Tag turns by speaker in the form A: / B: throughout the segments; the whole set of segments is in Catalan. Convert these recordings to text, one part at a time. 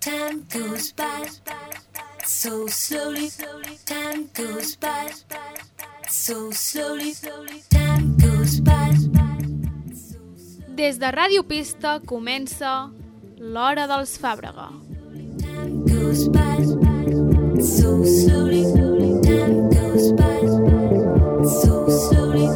A: Time goes by so slowly. Time goes by so slowly. Time goes by.
B: Des de Ràdio Pista comença l'Hora dels Fàbrega.
A: Time goes by so slowly. Time goes by so slowly.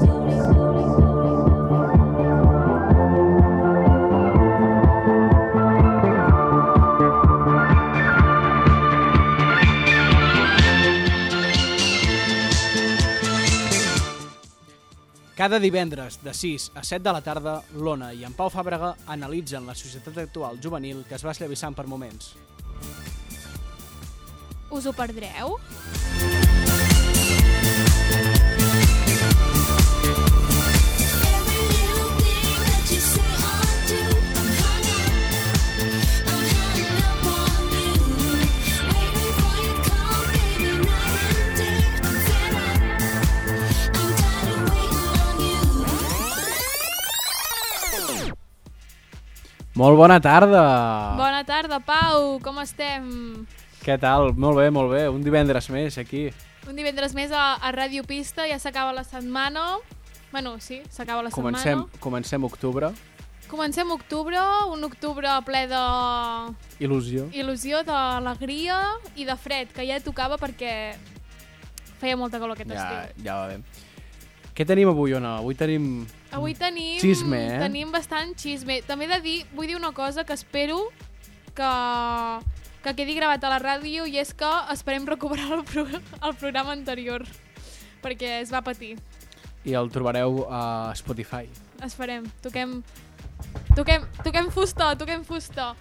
C: Cada divendres, de 6 a 7 de la tarda, l'Ona i en Pau Fàbrega analitzen la societat actual juvenil que es va esllavissant per moments.
B: Us ho perdreu?
A: Every little thing that you say or do, I'm hung up. I'm hung up on you. Waiting for your call, baby, night and day. I'm fed up. I'm tired of waiting on you.
C: Molt bona tarda!
B: Bona tarda, Pau! Com estem?
C: Què tal? Molt bé, molt bé. Un divendres més aquí.
B: Un divendres més a, a Ràdio Pista, ja s'acaba la setmana. Bueno, sí, s'acaba la
C: Comencem,
B: setmana.
C: comencem octubre.
B: Comencem octubre, un octubre ple de
C: Il·lusió.
B: il·lusió, d'alegria i de fred, que ja tocava perquè feia molta calor aquest
C: Ja,
B: estiu.
C: ja va bé. Què tenim avui, Ona? Avui tenim...
B: Avui tenim...
C: Xisme, eh?
B: Tenim bastant xisme. També he de dir, vull dir una cosa que espero que, que quedi gravat a la ràdio i és que esperem recuperar el, pro, el programa anterior perquè es va patir.
C: I el trobareu a Spotify.
B: Esperem. Toquem, toquem, toquem fusta, toquem fusta.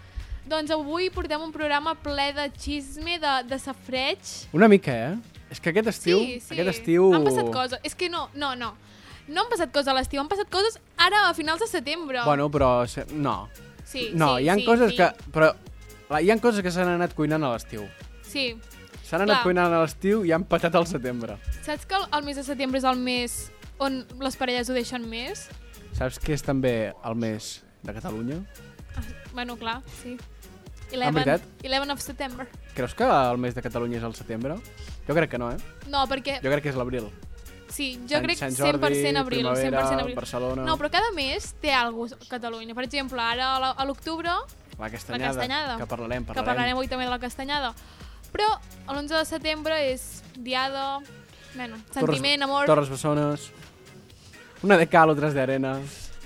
B: Doncs avui portem un programa ple de xisme, de, de safreig.
C: Una mica, eh? És que aquest estiu...
B: sí, sí.
C: Aquest estiu...
B: Han passat coses. És que no, no, no. No han passat coses a l'estiu, han passat coses ara a finals de setembre.
C: Bueno, però... se- No.
B: sí,
C: no,
B: sí,
C: hi ha
B: sí,
C: coses
B: sí.
C: que... Però la- hi ha coses que s'han anat cuinant a l'estiu.
B: Sí.
C: S'han anat
B: Clar.
C: cuinant a l'estiu i han patat al setembre.
B: Saps que el, el mes de setembre és el mes on les parelles ho deixen més?
C: Saps què és també el mes de Catalunya?
B: Ah, Bueno, clar, sí.
C: Ah, veritat?
B: 11 of September.
C: Creus que el mes de Catalunya és el setembre? Jo crec que no, eh?
B: No, perquè...
C: Jo crec que és l'abril.
B: Sí, jo
C: Sant-
B: crec
C: Sant
B: 100%
C: Jordi,
B: abril.
C: primavera,
B: 100% abril.
C: Barcelona.
B: No, però cada mes té alguna cosa a Catalunya. Per exemple, ara a la- a l'octubre,
C: La
B: la
C: castanyada,
B: castanyada.
C: que parlarem,
B: Que
C: parlarem.
B: parlarem avui també de la castanyada. Però l'11 de setembre és diada... Bueno, sentiment, amor...
C: Torres Bessones. Una de cal, tres de arena.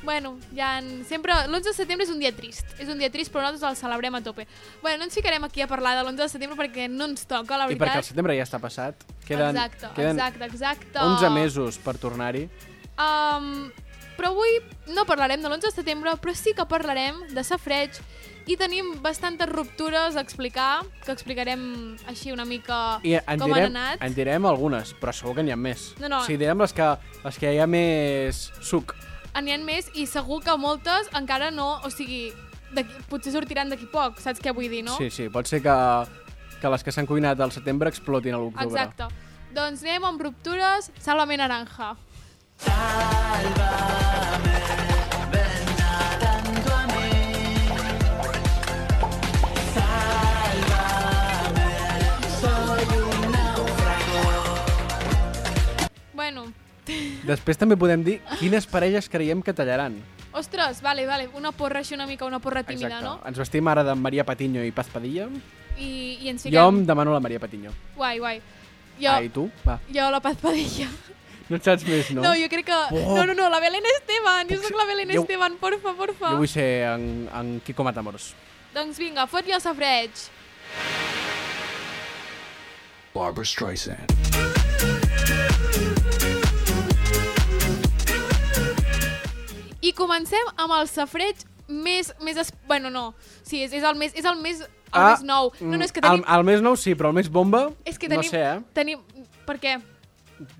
B: Bueno, ja en... sempre... L'11 de setembre és un dia trist. És un dia trist, però nosaltres el celebrem a tope. Bueno, no ens ficarem aquí a parlar de l'11 de setembre perquè no ens toca, la
C: I perquè el
B: veritat.
C: setembre ja està passat. Queden,
B: exacte,
C: queden
B: exacte, exacte.
C: 11 mesos per tornar-hi.
B: Um, però avui no parlarem de l'11 de setembre, però sí que parlarem de safreig i tenim bastantes ruptures a explicar, que explicarem així una mica
C: I eh, en
B: com
C: direm,
B: han anat.
C: en direm algunes, però segur que n'hi ha més.
B: No, no.
C: O sigui, direm les que, les que hi ha més suc.
B: En hi ha més i segur que moltes encara no, o sigui, d'aquí- potser sortiran d'aquí poc, saps què vull dir, no?
C: Sí, sí, pot ser que, que les que s'han cuinat al setembre explotin a l'octubre.
B: Exacte. Doncs anem amb ruptures, Sálvame Naranja. Bueno,
C: Després també podem dir quines parelles creiem que tallaran.
B: ostres, vale, vale, una porra així una mica, una porra tímida,
C: Exacte.
B: no?
C: Ens vestim ara de Maria Patiño i Paz Padilla.
B: I, i ens
C: Jo em
B: fiquem...
C: demano la Maria Patiño.
B: Guai, guai. Jo,
C: Jo... Ah, i tu? Va.
B: jo la Paz Padilla.
C: No et saps més, no?
B: No, jo crec que...
C: Oh.
B: No, no, no, la Belén Esteban, jo
C: Puc
B: sóc
C: ser-
B: la Belén
C: jo-
B: Esteban, porfa, porfa.
C: jo vull ser en, en Quico Matamoros.
B: Doncs vinga, fot-li el safreig.
D: Barbara Streisand.
B: I comencem amb el safreig més... més es... Bueno, no. Sí, és, és el més, és el més, el
C: Ah,
B: més nou. No, no, és que
C: mm,
B: tenim...
C: El, el més nou sí, però el més bomba...
B: és que tenim,
C: No sé, eh?
B: tenim... Per què?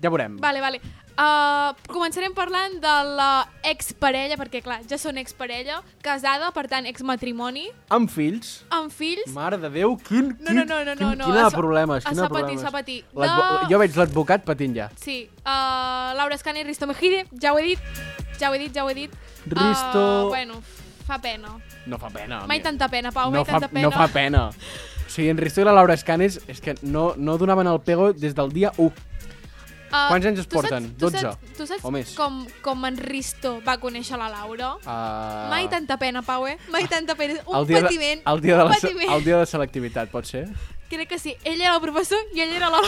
C: Ja veurem.
B: Vale, vale. Uh, començarem parlant de la exparella, perquè clar, ja són exparella, casada, per tant, exmatrimoni,
C: Amb fills...
B: amb fills...
C: Mare de Déu, quin...
B: No,
C: quin
B: no, no, no, no,
C: quin,
B: no,
C: Quina
B: es
C: de
B: fa-
C: problemes,
B: es
C: quina
B: fa patir,
C: de problemes.
B: es fa patir.
C: L'advo-
B: No.
C: Jo veig l'advocat patint ja.
B: Sí, uh, Laura Escana i Risto Mejide, ja ho he dit, ja ho he dit, ja ho he dit.
C: Risto-
B: Uh, bueno, fa Fa pena.
C: No fa pena.
B: Mai
C: mira.
B: tanta pena, Pau, eh,
C: no
B: mai
C: fa,
B: tanta pena.
C: No fa pena. O sigui, en Risto i la Laura Escanes és que no, no donaven el pego des del dia 1.
B: Ah,
C: Quants anys es
B: tu saps-
C: porten?
B: tu
C: 12
B: Saps, tu saps
C: o més?
B: Com, com en Risto va conèixer la Laura?
C: Uh,
B: Mai tanta pena, Pau, eh? Mai tanta pena. Un
C: el dia
B: patiment.
C: De, el, dia de la,
B: un patiment.
C: el dia de la selectivitat, pot ser?
B: Crec que sí. Ell era el professor i ell era la...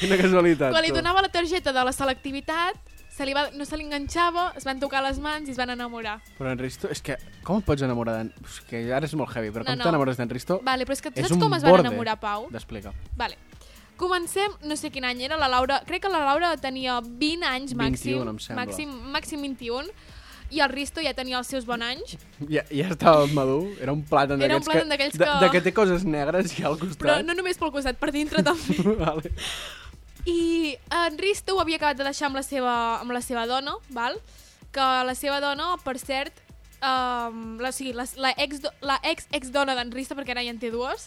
C: Quina casualitat.
B: Quan li
C: tu.
B: donava la targeta de la selectivitat, se li va, no se li enganxava, es van tocar les mans i es van enamorar.
C: Però en Risto, és que com et pots enamorar d'en... És que ara és molt heavy, però
B: No,
C: com
B: no.
C: t'enamores d'en Risto...
B: Vale, però és que tu
C: és
B: saps
C: un
B: com es van
C: borde.
B: enamorar, Pau?
C: D'explica.
B: Vale. Comencem, no sé quin any era, la Laura... Crec que la Laura tenia 20 anys màxim.
C: 21, em sembla.
B: Màxim, màxim 21. I el Risto ja tenia els seus bons anys.
C: Ja, ja estava madur, era un plàtan
B: Era un
C: d'aquests
B: plàtan d'aquells
C: De,
B: que-
C: de que té coses negres ja al costat.
B: Però no només pel costat, per dintre també.
C: vale.
B: I en Risto ho havia acabat de deixar amb la seva, amb la seva dona, val? que la seva dona, per cert, um, la, o sigui, la, la, ex, la ex, ex dona d'en Risto, perquè ara ja en té dues,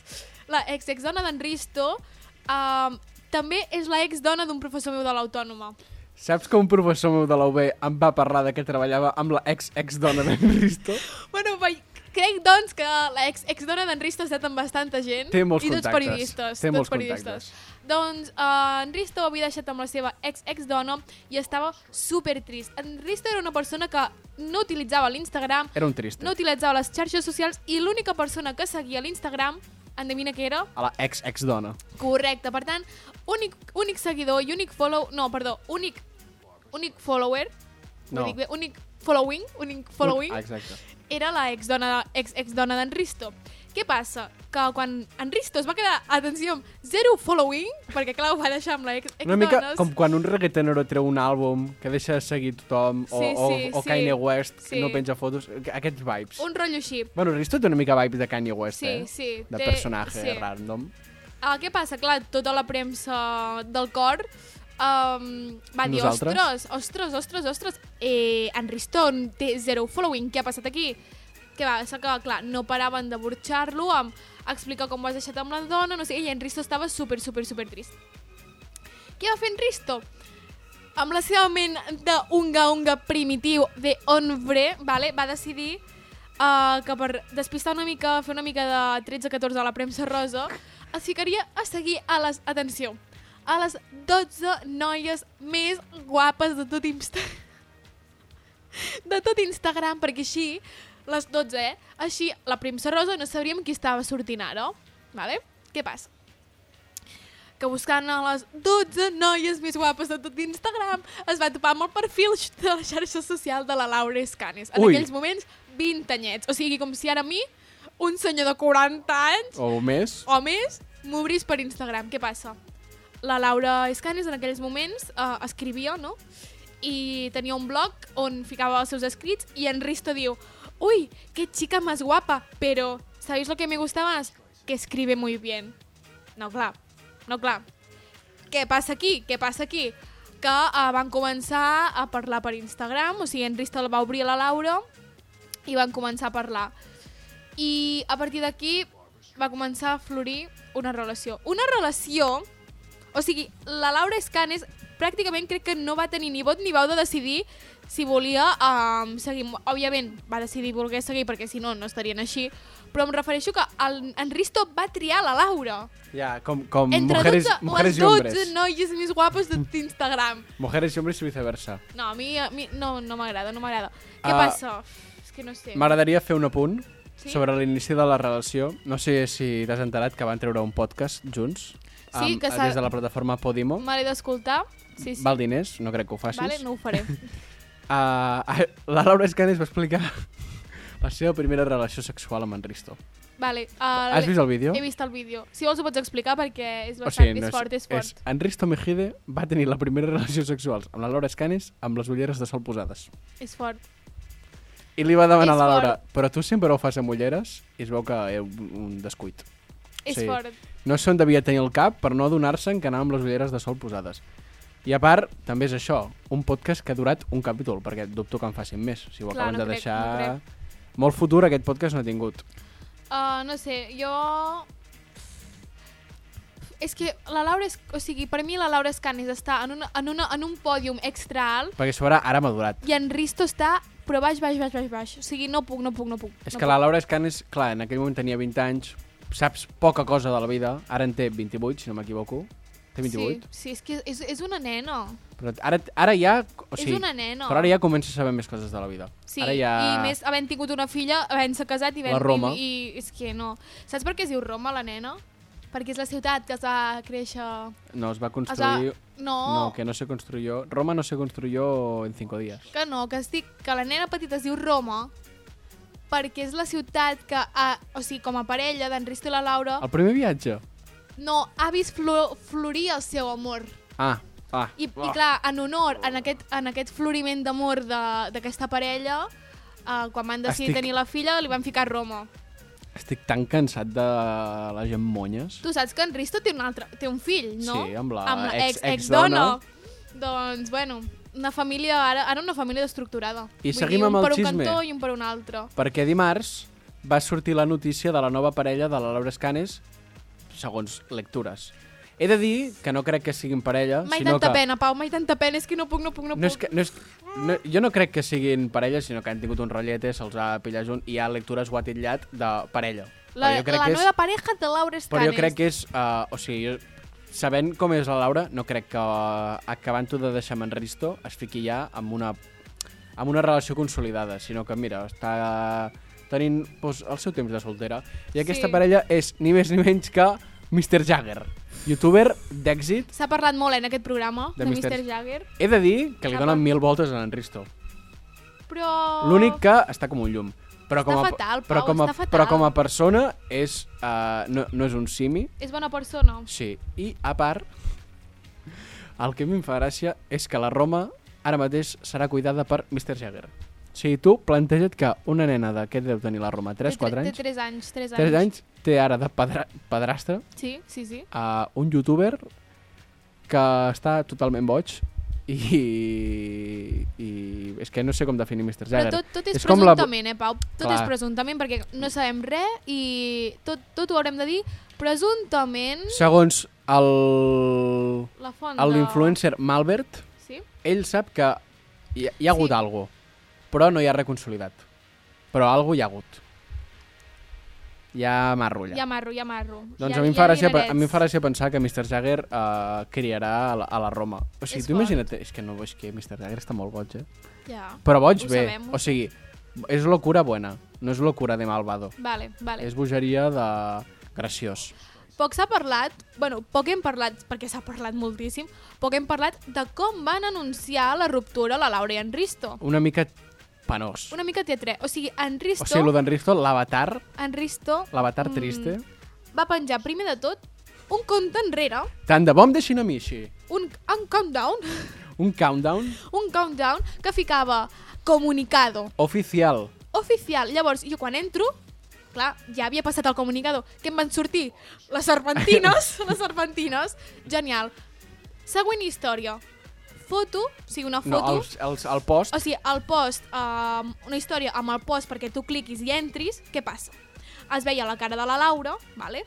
B: la ex ex dona d'en Risto um, també és la ex dona d'un professor meu de l'Autònoma.
C: Saps que un professor meu de la UB em va parlar de que treballava amb la ex-ex-dona d'en Risto?
B: Bueno, vai, crec, doncs, que la ex, ex dona d'en Risto ha estat amb bastanta gent.
C: Té molts
B: I tots
C: contactes.
B: periodistes.
C: Té
B: tots
C: molts
B: periodistes.
C: contactes.
B: Doncs eh, en Risto ho havia deixat amb la seva ex-ex-dona i estava super trist. En Risto era una persona que no utilitzava l'Instagram,
C: Era un trist.
B: no utilitzava les xarxes socials i l'única persona que seguia l'Instagram, endevina què era?
C: A la ex-ex-dona.
B: Correcte. Per tant, únic, únic seguidor i únic follow... No, perdó, únic, únic follower.
C: No.
B: Ho dic bé, únic following, únic following
C: Ah, exacte.
B: era la ex-dona ex -ex d'en Risto. Què passa? Que quan en Risto es va quedar, atenció, amb zero following, perquè clar, ho va deixar amb la ex ex
C: Una mica com quan un reggaetonero treu un àlbum que deixa de seguir tothom, o,
B: Sí, sí,
C: o, o
B: sí.
C: Kanye West, que
B: Sí.
C: no penja fotos, aquests vibes.
B: Un rotllo així.
C: Bueno, Risto té una mica vibes de Kanye West,
B: Sí,
C: eh?
B: sí,
C: De
B: té-
C: personatge
B: sí.
C: random.
B: Uh, què passa? Clar, tota la premsa del cor um, va dir,
C: Nosaltres?
B: ostres, ostres, ostres, ostres, eh, en Risto té zero following, què ha passat aquí? Què va, passa que, clar, no paraven de burxar-lo amb explicar com ho has deixat amb la dona, no sé, i en Risto estava super, super, super trist. Què va fer en Risto? Amb la seva ment d'unga unga primitiu de hombre, vale, va decidir uh, que per despistar una mica, fer una mica de 13-14 a la premsa rosa, es ficaria a seguir a les, atenció, a les 12 noies més guapes de tot Instagram. De tot Instagram, perquè així, les 12, eh? Així, la premsa rosa no sabríem qui estava sortint ara, vale? Què passa? que buscant a les 12 noies més guapes de tot Instagram es va topar amb el perfil de la xarxa social de la Laura Escanes. En
C: Ui.
B: aquells moments, 20 anyets. O sigui, com si ara a mi, un senyor de 40 anys
C: O més.
B: o més, m'obrís per Instagram. Què passa? La Laura Escanes en aquells moments eh, escrivia, no? I tenia un blog on ficava els seus escrits i en Risto diu Ui, qué chica más guapa, pero ¿sabéis lo que me gusta más? Que escribe muy bien. No, clar. No, clar. Què passa aquí? Què passa aquí? Que eh, van començar a parlar per Instagram, o sigui, en Risto el va obrir a la Laura i van començar a parlar. I a partir d'aquí va començar a florir una relació. Una relació... O sigui, la Laura Escanes pràcticament crec que no va tenir ni vot ni veu de decidir si volia um, seguir. amb- Òbviament, va decidir voler seguir perquè si no, no estarien així. Però em refereixo que el, en Risto va triar la Laura.
C: Ja, com, com
B: Entre
C: mujeres,
B: 12
C: mujeres i
B: o les
C: hombres.
B: 12 noies més guapes de tot Instagram.
C: Mujeres i hombres i viceversa.
B: No, a mi, a mi no, no m'agrada, no m'agrada. Què
C: Ah.
B: passa? És que no sé.
C: M'agradaria fer un apunt
B: Sí?
C: sobre l'inici de la relació. No sé si t'has enterat que van treure un podcast junts
B: Sí, que s'ha-
C: des de la plataforma Podimo.
B: Me l'he d'escoltar. Sí, sí.
C: Val diners, no crec que ho facis.
B: Vale, no ho faré.
C: Ah, ah, la Laura Escanes va explicar la seva primera relació sexual amb en Risto.
B: Vale, uh,
C: Has vist el vídeo?
B: He vist el vídeo. Si vols ho pots explicar perquè és
C: O
B: bastant,
C: sigui, no
B: és, fort, és fort.
C: En Risto Mejide va tenir la primera relació sexual amb la Laura Escanes amb les ulleres de sol posades.
B: És, fort.
C: I li va
B: És
C: demanar a la Laura, però tu sempre ho fas amb ulleres? I es veu que era un un descuit.
B: És
C: Sí.
B: fort.
C: No sé on devia tenir el cap per no adonar-se'n que anava amb les ulleres de sol posades. I a part, també és això, un podcast que ha durat un capítol, perquè dubto que en facin més, si ho
B: Clar,
C: acaben
B: no
C: de
B: crec,
C: deixar...
B: no
C: Molt futur aquest podcast no ha tingut.
B: Uh, no sé, jo... és que la Laura... Es... O sigui, per mi la Laura Escanes està en, una, en, una, en un pòdium extra alt
C: Perquè a sobre ara ha madurat.
B: i en Risto està però baix, baix, baix, baix, baix. O sigui, no puc, no puc, no puc.
C: És
B: no
C: que
B: puc.
C: la Laura Escanes, clar, en aquell moment tenia 20 anys, saps poca cosa de la vida, ara en té 28, si no m'equivoco. Té 28?
B: Sí, sí és que és, és una nena.
C: Sí. Però ara, ara ja... O
B: És
C: sigui,
B: una nena.
C: Però ara ja comença a saber més coses de la vida.
B: Sí,
C: ara ja...
B: i més havent tingut una filla, havent-se casat i,
C: La Roma.
B: i, i és que no. Saps per què es diu Roma, la nena? Perquè és la ciutat que es va créixer...
C: No, es
B: Es va...
C: va construir...
B: No,
C: No, que no se construyó... Roma no se construyó en 5 días.
B: que no, que estic... Que la nena petita es diu Roma perquè és la ciutat que, a, o sigui, com a parella d'en Risto i la Laura,
C: El primer viatge?
B: no, ha vist flor, florir el seu amor.
C: Ah, ah.
B: I, i clar, en honor, en aquest, en aquest floriment d'amor de- d'aquesta parella, eh, quan van decidir
C: Estic-
B: tenir la filla, li van ficar Roma.
C: Estic tan cansat de la gent monyes.
B: Tu saps que en Risto té un, altre, té un fill, no?
C: Sí, amb la ex-
B: ex,
C: ex-dona.
B: ex-dona. doncs, bueno, una família, ara, ara una família destructurada.
C: I
B: Vull
C: seguim
B: dir,
C: amb
B: un
C: el
B: per
C: xisme.
B: un cantó i un per un altre.
C: Perquè dimarts va sortir la notícia de la nova parella de la Laura Escanes, segons lectures. He de dir que no crec que siguin parella,
B: Mai
C: sinó
B: tanta
C: que...
B: pena, Pau, mai tanta pena, és que no puc, no puc, no,
C: No és
B: puc.
C: que, no és, no, jo no crec que siguin parella, sinó que han tingut un rotllete, se'ls ha pillat junt i ha lectures ho ha titllat de parella.
B: La,
C: Però jo crec
B: la
C: que és,
B: nova pareja de Laura Escanes.
C: Però jo crec que és... Uh, o sigui, jo, sabent com és la Laura, no crec que uh, acabant-ho de deixar amb en Risto es fiqui ja amb una, amb una relació consolidada, sinó que, mira, està tenint doncs, el seu temps de soltera. I aquesta
B: Sí.
C: parella és ni més ni menys que Mr. Jagger, youtuber d'èxit.
B: S'ha parlat molt eh, en aquest programa,
C: De
B: de, de
C: Mr.
B: Mr. Jagger,
C: He de dir que li
B: Apa.
C: donen mil voltes a en Risto.
B: però...
C: L'únic que està com un llum.
B: Oh. Està
C: Però com a,
B: fatal,
C: però
B: Pau,
C: com a,
B: està fatal.
C: Però com a persona és, uh, no, no és un simi,
B: És bona persona.
C: Sí, i a part, el que a mi em fa gràcia és que la Roma ara mateix serà cuidada per Mr. Jagger. O sigui, tu planteja't que una nena de què deu tenir la Roma? 3,
B: Té tre-
C: 4 anys?
B: Té 3 anys, 3 anys.
C: 3 anys té ara de pedra pedrastre
B: Sí, sí, sí.
C: a un youtuber que està totalment boig i, i és que no sé com definir Mr. Jagger.
B: Però tot, tot és,
C: és com la...
B: presumptament, eh, Pau? Tot
C: Clar.
B: és presumptament, perquè no sabem res i tot, tot ho haurem de dir presumptament
C: Segons el...
B: la font de...
C: l'influencer Malbert,
B: Sí?
C: ell sap que hi, hi ha hagut
B: Sí.
C: algo, però no hi ha reconsolidat. Però algo hi ha hagut. Hi ha marrulla.
B: Ja marro, ja marro.
C: Doncs
B: ja,
C: a, mi em fa
B: ja
C: gràcia, pe-
B: dinarets.
C: a mi em fa gràcia pensar que Mr. Jagger uh, criarà a la, a la Roma. O sigui,
B: És fort.
C: tu imagina't... És que no, és que Mr. Jagger està molt boig, eh?
B: Ja.
C: Però boig
B: Ho
C: bé.
B: sabem, ho
C: O sigui, és locura buena, no és locura de malvado.
B: Vale, vale.
C: És bogeria de... graciós.
B: Poc s'ha parlat, bueno, poc hem parlat, perquè s'ha parlat moltíssim, poc hem parlat de com van anunciar la ruptura la Laura i en Risto.
C: Una mica penós.
B: Una mica teatre. O sigui, en
C: O
B: Risto,
C: sigui, lo d'en Risto, l'avatar,
B: en Risto mm,
C: l'avatar triste...
B: va penjar primer de tot un compte enrere,
C: Tant de bo em deixin a mi així.
B: un, un countdown,
C: Un countdown
B: un countdown que ficava comunicado
C: oficial.
B: oficial. Llavors, jo quan entro, clar, ja havia passat el comunicador, que em van sortir les serpentines, les serpentines, genial. Següent història, foto, o sigui, una
C: No,
B: foto...
C: els, els, el post...
B: O sigui, el post, um, una història amb el post perquè tu cliquis i entris, què passa? Es veia la cara de la Laura, vale?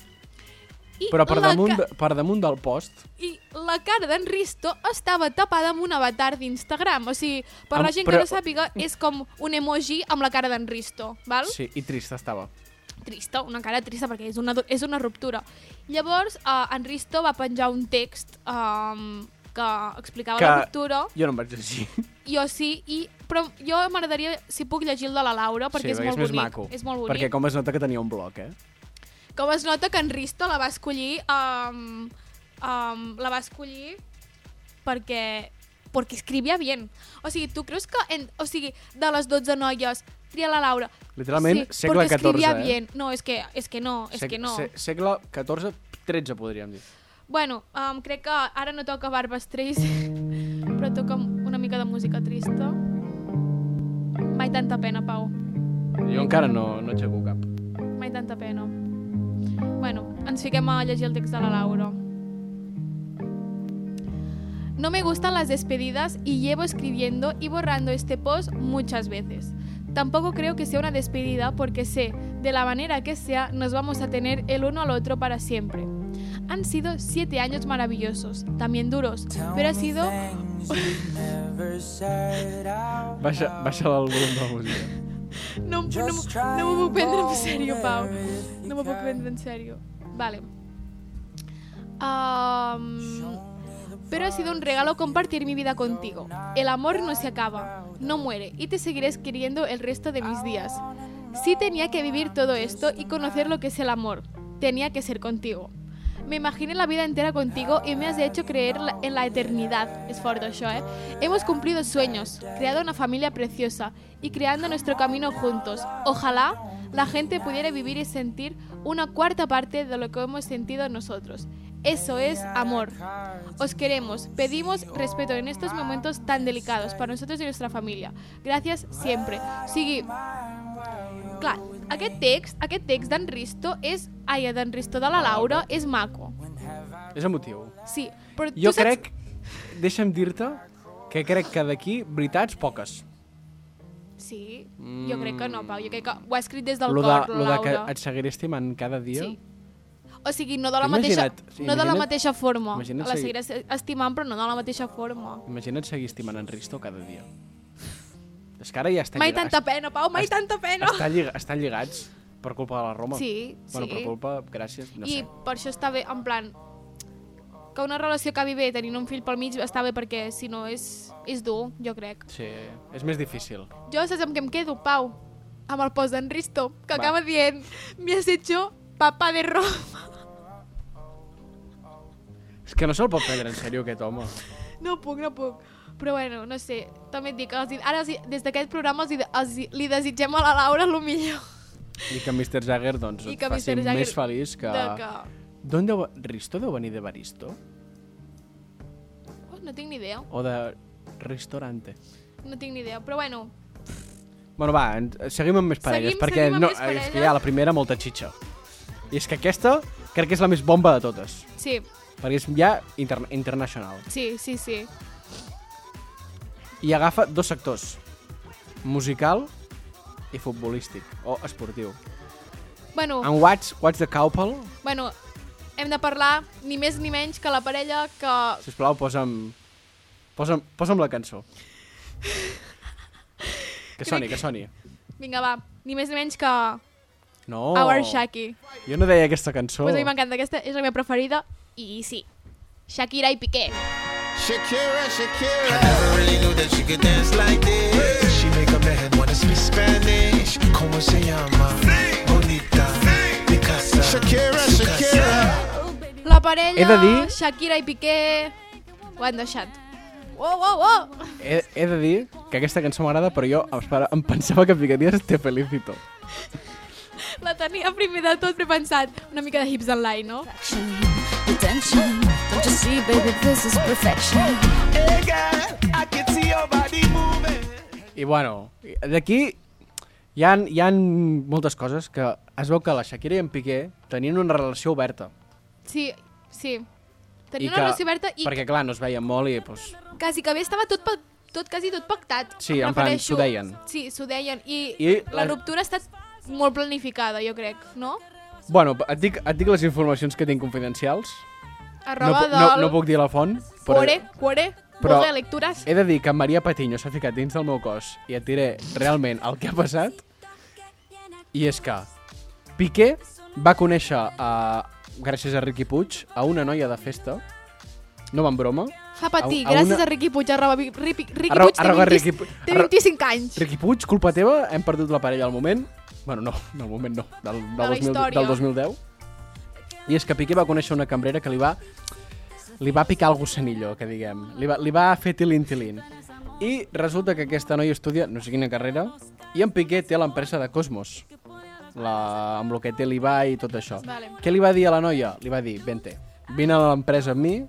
B: I
C: Però per
B: la
C: damunt,
B: ca-
C: de- per damunt del post...
B: I la cara d'en Risto estava tapada amb un avatar d'Instagram. O sigui, per
C: Am-
B: la gent
C: però-
B: que no sàpiga, és com un emoji amb la cara d'en Risto, val?
C: Sí, i trista estava.
B: Trista, una cara trista, perquè és una, do- és una ruptura. Llavors, eh, en Risto va penjar un text um, que explicava
C: Que-
B: la ruptura.
C: Jo no em vaig llegir.
B: Jo sí, i, però jo m'agradaria, si puc, llegir el de la Laura, perquè és molt
C: més
B: bonic.
C: maco.
B: És molt bonic.
C: Perquè com es nota que tenia un bloc, eh?
B: Com es nota que en Risto la va escollir... Um, um, la va escollir perquè perquè escrivia bien. O sigui, tu creus que... En, o sigui, de les 12 noies, tria la Laura.
C: Literalment,
B: sí,
C: segle
B: perquè escrivia
C: XIV, eh?
B: bien. No, és que, és que no, és
C: Seg-
B: que no.
C: se- segle 14, 13, podríem dir.
B: Bueno, um, crec que ara no toca Barbes Trist, però toca una mica de música trista. Mai tanta pena, Pau.
C: Jo encara no, no aixeco cap.
B: Mai tanta pena. Bueno, ens fiquem a llegir el text de la Laura. No me gustan las despedidas y llevo escribiendo y borrando este post muchas veces. Tampoco creo que sea una despedida porque sé, de la manera que sea, nos vamos a tener el uno al otro para siempre. Han sido siete años maravillosos, también duros, pero ha sido...
C: Baixa, baixa el volum de la música.
B: No, no, no, no m'ho puc prendre en sèrio, Pau. No m'ho puc prendre en sèrio. Vale. Um, pero ha sido un regalo compartir mi vida contigo. El amor no se acaba, no muere y te seguiré queriendo el resto de mis días. Sí tenía que vivir todo esto y conocer lo que es el amor. Tenía que ser contigo. Me imaginé la vida entera contigo y me has hecho creer la- en la eternidad. Es fuerte eso, ¿eh? Hemos cumplido sueños, creado una familia preciosa y creando nuestro camino juntos. Ojalá la gente pudiera vivir y sentir una cuarta parte de lo que hemos sentido nosotros. Eso es amor. Os queremos, pedimos respeto en estos momentos tan delicados para nosotros y nuestra familia. Gracias siempre. Sigui, Clar, aquest text, aquest text d'en Risto és... Ai, d'en Risto, de la Laura, és maco.
C: És emotiu.
B: Sí, però
C: Jo
B: tu saps...
C: crec, deixa'm dir-te, que crec que d'aquí, veritats, poques.
B: Sí, jo crec que no, Pau. Jo crec que ho ha escrit des del
C: Mm. Lo de,
B: cor,
C: lo
B: la
C: de que
B: Laura.
C: et seguiré estimant cada dia.
B: Sí. O sigui, no de la mateixa,
C: Imagina't, sí,
B: no de la
C: imagina't-
B: mateixa forma.
C: imagina't
B: La
C: seguir-
B: seguiràs estimant, però no de la mateixa forma.
C: Imagina't seguir estimant en Risto cada dia. És que ara ja estan
B: Mai
C: lliga-
B: tanta pena, Pau, mai
C: est-
B: tanta pena.
C: Estan, lliga, estan lligats per culpa de la Roma.
B: Sí,
C: Bueno,
B: sí.
C: per culpa, gràcies, no
B: I
C: sé.
B: per això està bé, en plan, que una relació acabi bé tenint un fill pel mig està bé perquè si no és, és dur, jo crec.
C: Sí, és més difícil.
B: Jo saps amb què em quedo, Pau? Amb el post d'en Risto, que
C: Va.
B: Va. acaba dient «Me has hecho papá de Roma».
C: És que no se'l pot prendre en sèrio aquest home.
B: No puc, no puc. Però bueno, no sé, també et dic, els, hi- ara els, hi- des d'aquest programa els, hi- els, hi- li desitgem a la Laura el millor.
C: I que Mr. Jagger, doncs,
B: I
C: et
B: que
C: faci
B: Mr. Jagger-
C: més feliç que...
B: De que...
C: D'on deu... Risto deu venir de Baristo?
B: Oh, no tinc ni idea,
C: O de restaurante?
B: no tinc ni idea. Però bueno,
C: Bueno, va, en- seguim amb més parelles,
B: Seguim-
C: perquè
B: seguim amb
C: no,
B: més parelles.
C: és que ja la primera molta xitxa. I és que aquesta crec que és la més bomba de totes,
B: sí,
C: perquè és ja interna internacional.
B: sí, sí, sí.
C: I agafa dos sectors, musical i futbolístic, o esportiu.
B: Bueno,
C: En What's, What's the Couple,
B: bueno, hem de parlar ni més ni menys que la parella que...
C: sisplau, posa'm, posa'm, posa'm la cançó. Que soni, que soni.
B: Vinga, va, ni més ni menys que
C: No,
B: Our Shaki.
C: jo no deia aquesta cançó.
B: Pues a mi m'encanta, aquesta és la meva preferida i sí, Shakira i Piqué.
E: Shakira, Shakira. I never really knew that she could dance like this. She make a man wanna speak Spanish. Como se llama? Bonita. Picasa. Shakira, Shakira.
B: La parella,
C: He de dir-
B: Shakira i Piqué, ho han deixat. Wow, wow, wow!
C: He, he de dir que aquesta cançó m'agrada, però jo espera, em pensava que ficaries Te Felicito.
B: La tenia primer de tot, però he pensat, una mica de hips online, no?
F: Attention, don't you see, baby, this is perfection.
E: Hey girl, I can see your body moving.
C: I bueno, d'aquí hi han hi han moltes coses que es veu que la Shakira i en Piqué tenien una relació oberta.
B: Sí, sí.
C: I
B: Tenia
C: que-
B: una relació oberta i
C: Perquè, clar, no es veien molt i, doncs,
B: quasi que bé estava tot, pa- tot quasi tot pactat.
C: Sí,
B: Em
C: en plan,
B: refereixo-
C: s'ho deien.
B: Sí, s'ho deien. I,
C: I
B: la...
C: la-
B: ruptura ha estat molt planificada, jo crec, no?
C: Bueno, et dic, et dic les informacions que tinc confidencials. no,
B: Arroba
C: pu- no,
B: del...
C: no puc dir la font, però
B: Cuore, cuore,
C: però- eh,
B: Google Lectures.
C: he de dir que en Maria Patiño s'ha ficat dins del meu cos i et diré realment el que ha passat. I és que Piqué va conèixer, a, gràcies a Riqui Puig, a una noia de festa, no van broma,
B: Fa patir,
C: A- a
B: gràcies
C: una-
B: a Riqui Puig, arroba Vi- Riqui, Riqui
C: Arro-
B: Puig, té,
C: arroba
B: 20,
C: Riqui Pu-
B: té
C: arro-
B: 25 anys.
C: Riqui Puig, culpa teva, hem perdut la parella al moment. Bueno, no, del moment no, del,
B: la
C: del, 2000,
B: història.
C: del 2010. I és que Piqué va conèixer una cambrera que li va li va picar el gossanillo, que diguem. Li va, li va fer tilin-tilin. I resulta que aquesta noia estudia no sé quina carrera i en Piqué té l'empresa de Cosmos, la, amb el que té l'Ibai i tot això.
B: Vale.
C: Què li va dir a la noia? Li va dir, vente, vine a l'empresa amb mi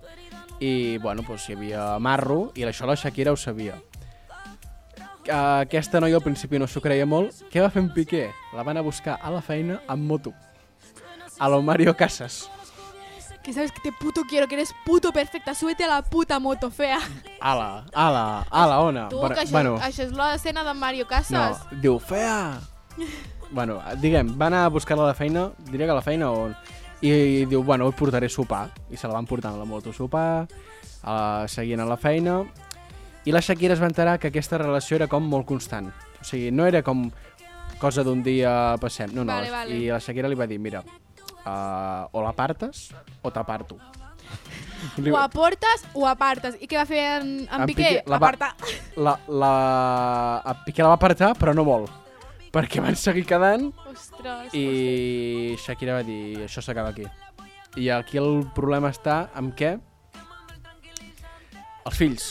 C: i, bueno, doncs hi havia marro i això la Shakira ho sabia. Que Aquesta noia al principi no s'ho creia molt. Què va fer en Piqué? La van a buscar a la feina amb moto. A lo Mario Casas.
B: Que sabes que te puto quiero, que eres puto perfecta, súbete a la puta moto fea.
C: Ala, ala, ala, ona.
B: Tu,
C: Ah, Bueno,
B: que això,
C: bueno,
B: això és l'escena de Mario
C: no,
B: Casas.
C: diu, fea! bueno, diguem, va anar a buscar-la a la feina, diré que a la feina o... i diu, bueno, et portaré sopar. I se la van portar amb la moto a sopar, a la, seguint a la feina, i la Shakira es va enterar que aquesta relació era com molt constant. O sigui, no era com cosa d'un dia passem. No, no,
B: Vale, vale.
C: i la Shakira li va dir, mira, uh, o l'apartes o t'aparto. Li
B: O
C: va-
B: aportes o apartes. I què va fer en, en,
C: En
B: Piqué?
C: Piqué la va-
B: Apartar.
C: La, la... A Piqué la va apartar, però no vol. Perquè van seguir quedant
B: Ostres.
C: i Shakira va dir, això s'acaba aquí. I aquí el problema està amb què? Els fills.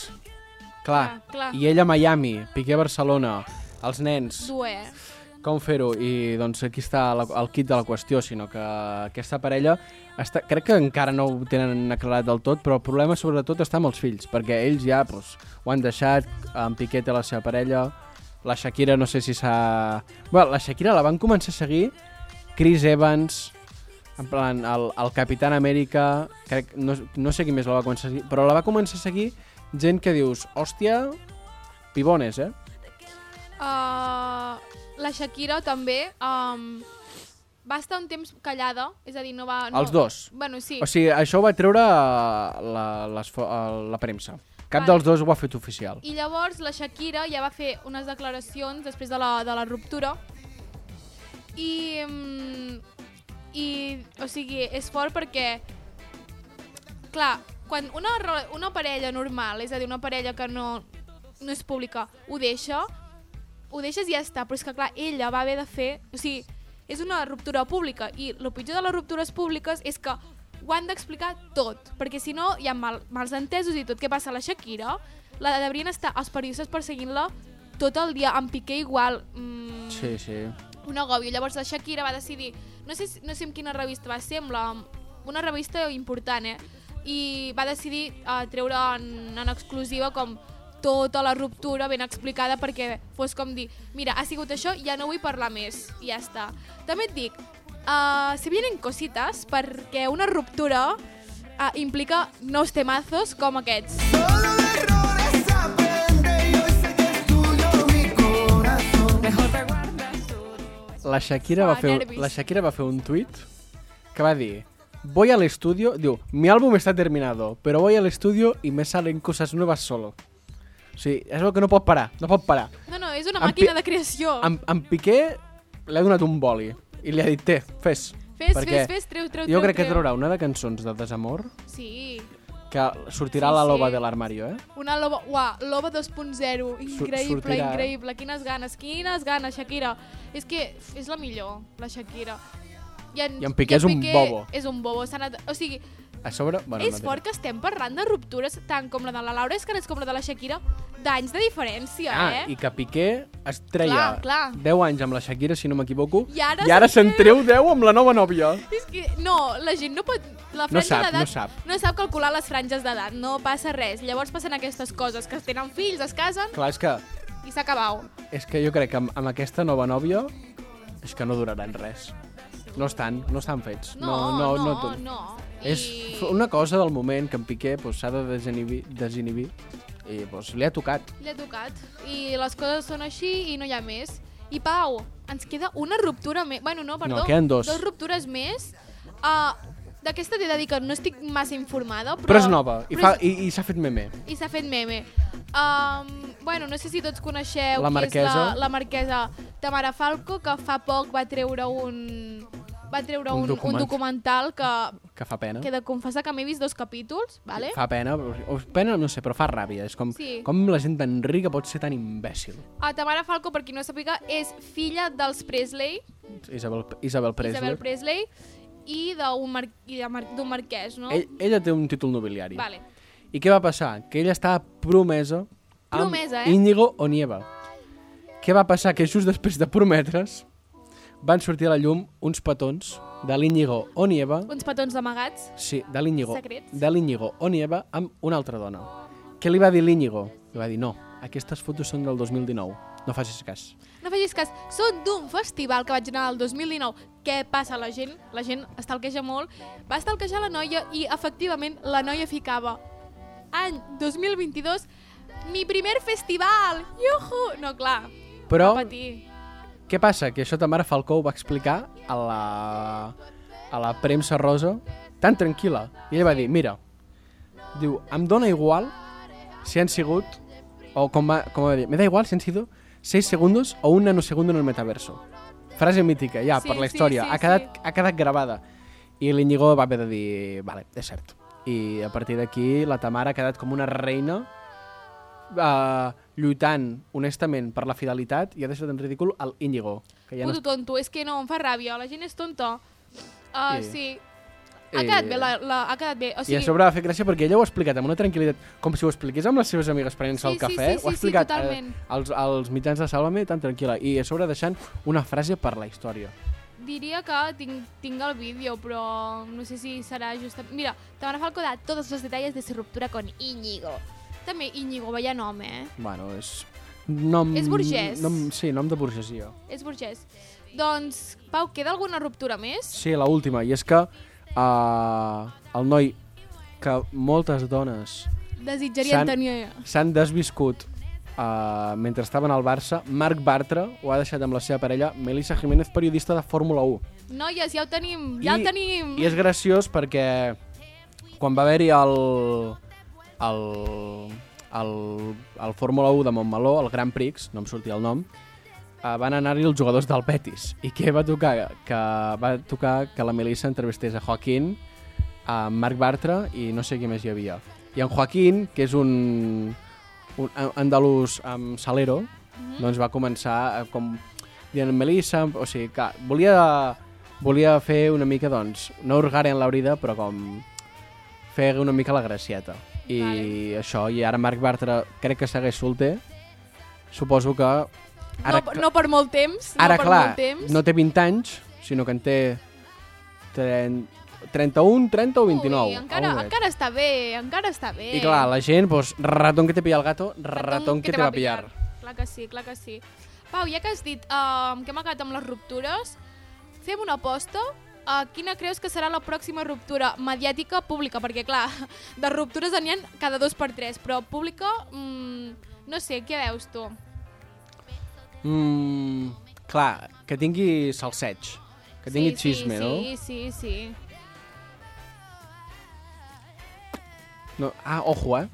C: Clar.
B: Clar, clar.
C: I ella a Miami, Piqué a Barcelona, els nens,
B: Dur, eh?
C: com fer-ho? I doncs aquí està la, el kit de la qüestió, sinó que aquesta parella està, crec que encara no ho tenen aclarat del tot, però el problema sobretot està amb els fills, perquè ells ja doncs, ho han deixat, en Piqué té la seva parella, la Shakira no sé si s'ha... Bé, la Shakira la van començar a seguir Chris Evans, en plan, el, el Capitán Amèrica, crec, no, no sé qui més la va començar a seguir, però la va començar a seguir gent que dius, hòstia, pibones, eh?
B: Uh, la Shakira també um, va estar un temps callada, és a dir, no va... No,
C: Els dos.
B: Bueno, sí.
C: O sigui, això ho va treure eh, la, les, fo- eh, la premsa. Cap
B: Vale.
C: dels dos ho ha fet oficial.
B: I llavors la Shakira ja va fer unes declaracions després de la, de la ruptura i, mm, i o sigui, és fort perquè clar, quan una, re- una parella normal, és a dir, una parella que no, no és pública, ho deixa ho deixes i ja està, però és que clar, ella va haver de fer, o sigui, és una ruptura pública i el pitjor de les ruptures públiques és que ho han d'explicar tot, perquè si no hi ha mal, mals entesos i tot. Què passa a la Shakira? La devrien estar els periodistes perseguint-la tot el dia, amb Piqué igual. Mm,
C: Sí, sí.
B: un agòbio. Llavors la Shakira va decidir, no sé, si- no sé en quina revista va ser, amb la, una revista important, eh? I va decidir eh, treure en, en exclusiva com tota la ruptura ben explicada perquè fos com dir, mira, ha sigut això, ja no vull parlar més, i ja està. També et dic, eh, se vienen cositas perquè una ruptura eh, implica nous temazos com aquests.
E: Solo de errores aprende y hoy se destruyó mi corazón.
C: La Shakira,
B: Fa
C: va fer,
B: nervis.
C: la Shakira va fer un tuit que va dir Voy al estudio, diu, mi álbum está terminado, pero voy al estudio y me salen cosas nuevas solo. O sigui, és el que no pot parar, no pot parar.
B: No, no, és una
C: En
B: màquina
C: Pi-
B: de creació.
C: En, en Piqué l'ha donat un boli i li ha dit, té, fes.
B: Fes,
C: Perquè
B: fes, fes, treu, treu, treu.
C: Jo crec que
B: treu.
C: traurà una de cançons de desamor
B: Sí.
C: que
B: Sí,
C: sortirà a la
B: sí.
C: loba de l'armario, eh?
B: Una loba, uà, loba 2.0, increïble,
C: sortirà, eh?
B: increïble, quines ganes, quines ganes, Shakira. És que és la millor, la Shakira. I en,
C: I en Piqué és un bobo.
B: És un bobo, s'ha anat... O sigui,
C: A sobre... Bueno,
B: bueno, és
C: no
B: fort que estem parlant de ruptures tant com la de la Laura Escanes com la de la Shakira d'anys de diferència,
C: Ah,
B: eh?
C: i que Piqué es treia
B: Clar, clar.
C: 10 anys amb la Shakira, si no m'equivoco,
B: I ara
C: i ara
B: se'n
C: se'n treu 10 amb la nova nòvia.
B: És que, no, la gent no pot... La
C: No
B: franja
C: sap,
B: d'edat
C: no sap.
B: no sap calcular les franges d'edat, no passa res. Llavors passen aquestes coses, que tenen fills, es casen
C: Clar, és que,
B: i s'ha acabat.
C: és que jo crec que amb, amb aquesta nova nòvia és que no duraran res. No estan, no estan fets.
B: No,
C: no, no.
B: no.
C: no.
B: no.
C: És f- una cosa del moment que en Piqué doncs, s'ha de desinhibir, desinhibir i doncs, li ha tocat.
B: L'he tocat. I les coses són així i no hi ha més. I Pau, ens queda una ruptura més. Bueno, no, perdó.
C: No, queden dos.
B: Dos ruptures més. Uh, D'aquesta t'he de dir que no estic massa informada, però...
C: Però, és nova i,
B: però
C: fa,
B: és-
C: i, i s'ha fet meme.
B: I s'ha fet meme. Um, bueno, no sé si tots coneixeu
C: La
B: qui és la,
C: marquesa.
B: la marquesa Tamara Falco, que fa poc va treure un va treure un,
C: Un
B: un
C: document.
B: documental que,
C: Que fa pena.
B: que he de confessar que m'he vist dos capítols, vale?
C: Fa pena, o pena no sé, però fa ràbia. És com,
B: Sí.
C: com la gent tan rica pot ser tan imbècil.
B: A Tamara Falco, per qui no sàpiga, és filla dels Presley,
C: Isabel, Isabel Presley.
B: Isabel Presley, i d'un mar i de mar d'un marquès, no?
C: Ell, ella té un títol nobiliari.
B: Vale.
C: I què va passar? Que ella estava promesa amb
B: Promesa, eh?
C: Íñigo Onieva. Què va passar? Que just després de prometre's van sortir a la llum uns petons de l'Íñigo Onieva
B: Uns petons amagats.
C: Sí, de l'Iñigo.
B: Secrets.
C: De l'Iñigo Onieva amb una altra dona. Què li va dir l'Iñigo? Li va dir, no, aquestes fotos són del 2019. No facis cas.
B: No facis cas, són d'un festival que vaig anar el 2019. Què passa? La gent, la gent estalqueja molt. Va estalquejar la noia i, efectivament, la noia ficava any 2022 mi primer festival! Juhu! No, clar,
C: Però,
B: va patir.
C: què passa? Que això ta mare Falcó ho va explicar a la... a la premsa rosa tan tranquil·la. I ella va dir, mira, diu, em dóna igual si han sigut, o com va, com va dir, me da igual si han sido 6 segundos o un nanosegundo en el metaverso. Frase mítica,
B: Sí,
C: ja, sí, per la
B: sí,
C: història.
B: sí,
C: Sí, sí, ha, quedat, sí. ha quedat gravada. I l'Iñigo va haver de dir, vale, és cert. I a partir d'aquí la Tamara ha quedat com una reina eh, lluitant honestament per la fidelitat i ha deixat en ridícul el Íñigo. Que ja no...
B: Puto tonto, és que no, em fa ràbia, la gent és tonta. Uh,
C: Eh.
B: Sí. Ha quedat bé, la, la, ha quedat bé. O
C: I
B: sigui,
C: a sobre va fer gràcia perquè ella ho ha explicat amb una tranquil·litat, com si ho expliqués amb les seves amigues prenent-se
B: Sí,
C: el
B: sí,
C: cafè,
B: sí, sí,
C: ho ha
B: sí,
C: explicat eh,
B: totalment.
C: als, als mitjans de Sálvame tan tranquil·la, i a sobre deixant una frase per la història.
B: Diria que tinc, tinc el vídeo, però no sé si será justa... Mira, Tamara Falco da todos los detalles de su ruptura con Íñigo. També Íñigo, vaya nom, eh?
C: Bueno, és... Nom,
B: És burgès.
C: Nom, sí, nom de burgesia.
B: És burgès. Doncs, Pau, queda alguna ruptura més?
C: Sí, la última, i és que uh, el noi que moltes dones
B: Desitjaria
C: Sant-
B: tenir... eh?
C: s'han desviscut uh, mentre estaven al Barça, Marc Bartra ho ha deixat amb la seva parella, Melissa Jiménez, periodista de Fórmula 1.
B: Noies, ja ho tenim, ja
C: I-
B: ho tenim!
C: I és graciós perquè quan va haver-hi el, el, el, el Fórmula 1 de Montmeló, el Gran Prix, no em sortia el nom, eh, van anar-hi els jugadors del Betis. I què va tocar? Que va tocar que la Melissa entrevistés a Joaquín, a Marc Bartra i no sé qui més hi havia. I en Joaquín, que és un, un a- andalús amb salero, doncs va començar a, com dient Melissa, o sigui, que volia, volia fer una mica, doncs, no hurgar en la brida, però com fer una mica la gracieta. I
B: Vale.
C: això, i ara Marc Bartra crec que segueix solter, suposo que... Ara,
B: no, no per molt temps,
C: ara
B: no per
C: clar,
B: molt temps.
C: no té 20 anys, sinó que en té 30, 31, 30 o 29.
B: Ui, encara,
C: algo d'aquest.
B: encara està bé, encara està bé.
C: I clar, la gent, doncs, ratón que te pilla el gato, ratón, que, te, va a pillar.
B: Clar que sí, clar que sí. Pau, ja que has dit uh, que hem acabat amb les ruptures, fem una aposta. Uh, quina creus que serà la pròxima ruptura mediàtica pública? Perquè, clar, de ruptures n'hi ha cada dos per tres, però pública, mm, no sé, què veus tu?
C: Mm, clar, que tingui salseig, que tingui xisme,
B: sí,
C: no?
B: Sí, sí, sí.
C: no? Ah, ojo, eh?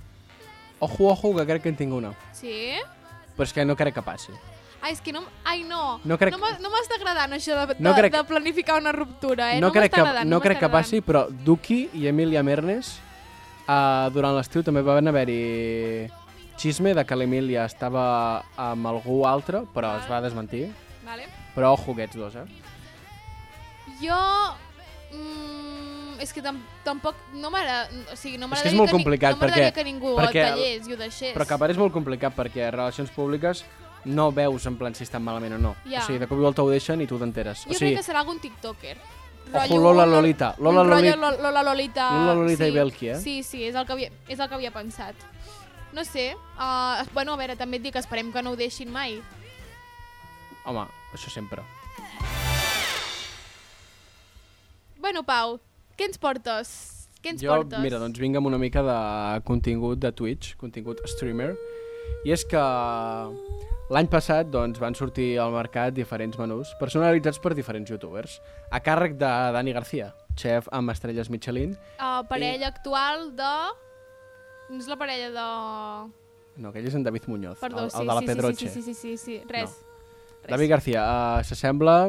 C: Ojo, ojo, que crec que en tinc una.
B: Sí?
C: Però és que no crec que passi.
B: Ai, és que no... Ai, no.
C: No crec-
B: No m'ha- no m'està agradant això de, de,
C: No crec-
B: de planificar una ruptura, eh?
C: no, crec
B: m'està
C: que,
B: agradant,
C: no
B: m'està
C: crec que
B: agradant.
C: passi, però Duki i Emilia Mernes uh, durant l'estiu també van haver-hi xisme de que l'Emilia estava amb algú altre, però es va desmentir.
B: Vale.
C: Però ojo aquests dos, eh?
B: Jo... Mm, és que tam tampoc... No m'agrada... O sigui, no
C: És
B: m'agradaria
C: que és molt
B: ni-
C: complicat,
B: no m'agradaria
C: perquè-
B: que ningú
C: perquè-
B: el tallés i ho deixés.
C: Però que a part és molt complicat perquè relacions públiques no veus en plan si estan malament o no.
B: Ja.
C: O sigui, de cop i volta ho deixen i tu t'enteres.
B: Jo
C: O sigui,
B: crec que serà algun tiktoker.
C: Ojo,
B: Rotllo-
C: Lola Lolita. Lola
B: un rotllo
C: Loli-
B: Lo- Lola Lolita.
C: Lola Lolita
B: sí.
C: i Belki, eh?
B: Sí, sí, és el que havia, és el que havia pensat. No sé, uh, bueno, a veure, també et dic que esperem que no ho deixin mai.
C: home, això sempre.
B: Bueno, Pau, què ens portes? Què ens
C: jo,
B: portes?
C: mira, doncs vinc amb una mica de contingut de Twitch, contingut streamer, i és que l'any passat doncs, van sortir al mercat diferents menús personalitzats per diferents youtubers, a càrrec de Dani Garcia, xef amb estrelles Michelin.
B: Uh, parella actual de... No és la parella de...
C: No, aquell és en David Muñoz,
B: Perdó,
C: el, el
B: sí,
C: de la
B: sí, sí,
C: Pedroche.
B: sí, sí, sí, sí, sí, res. Res.
C: David García, uh, s'assembla...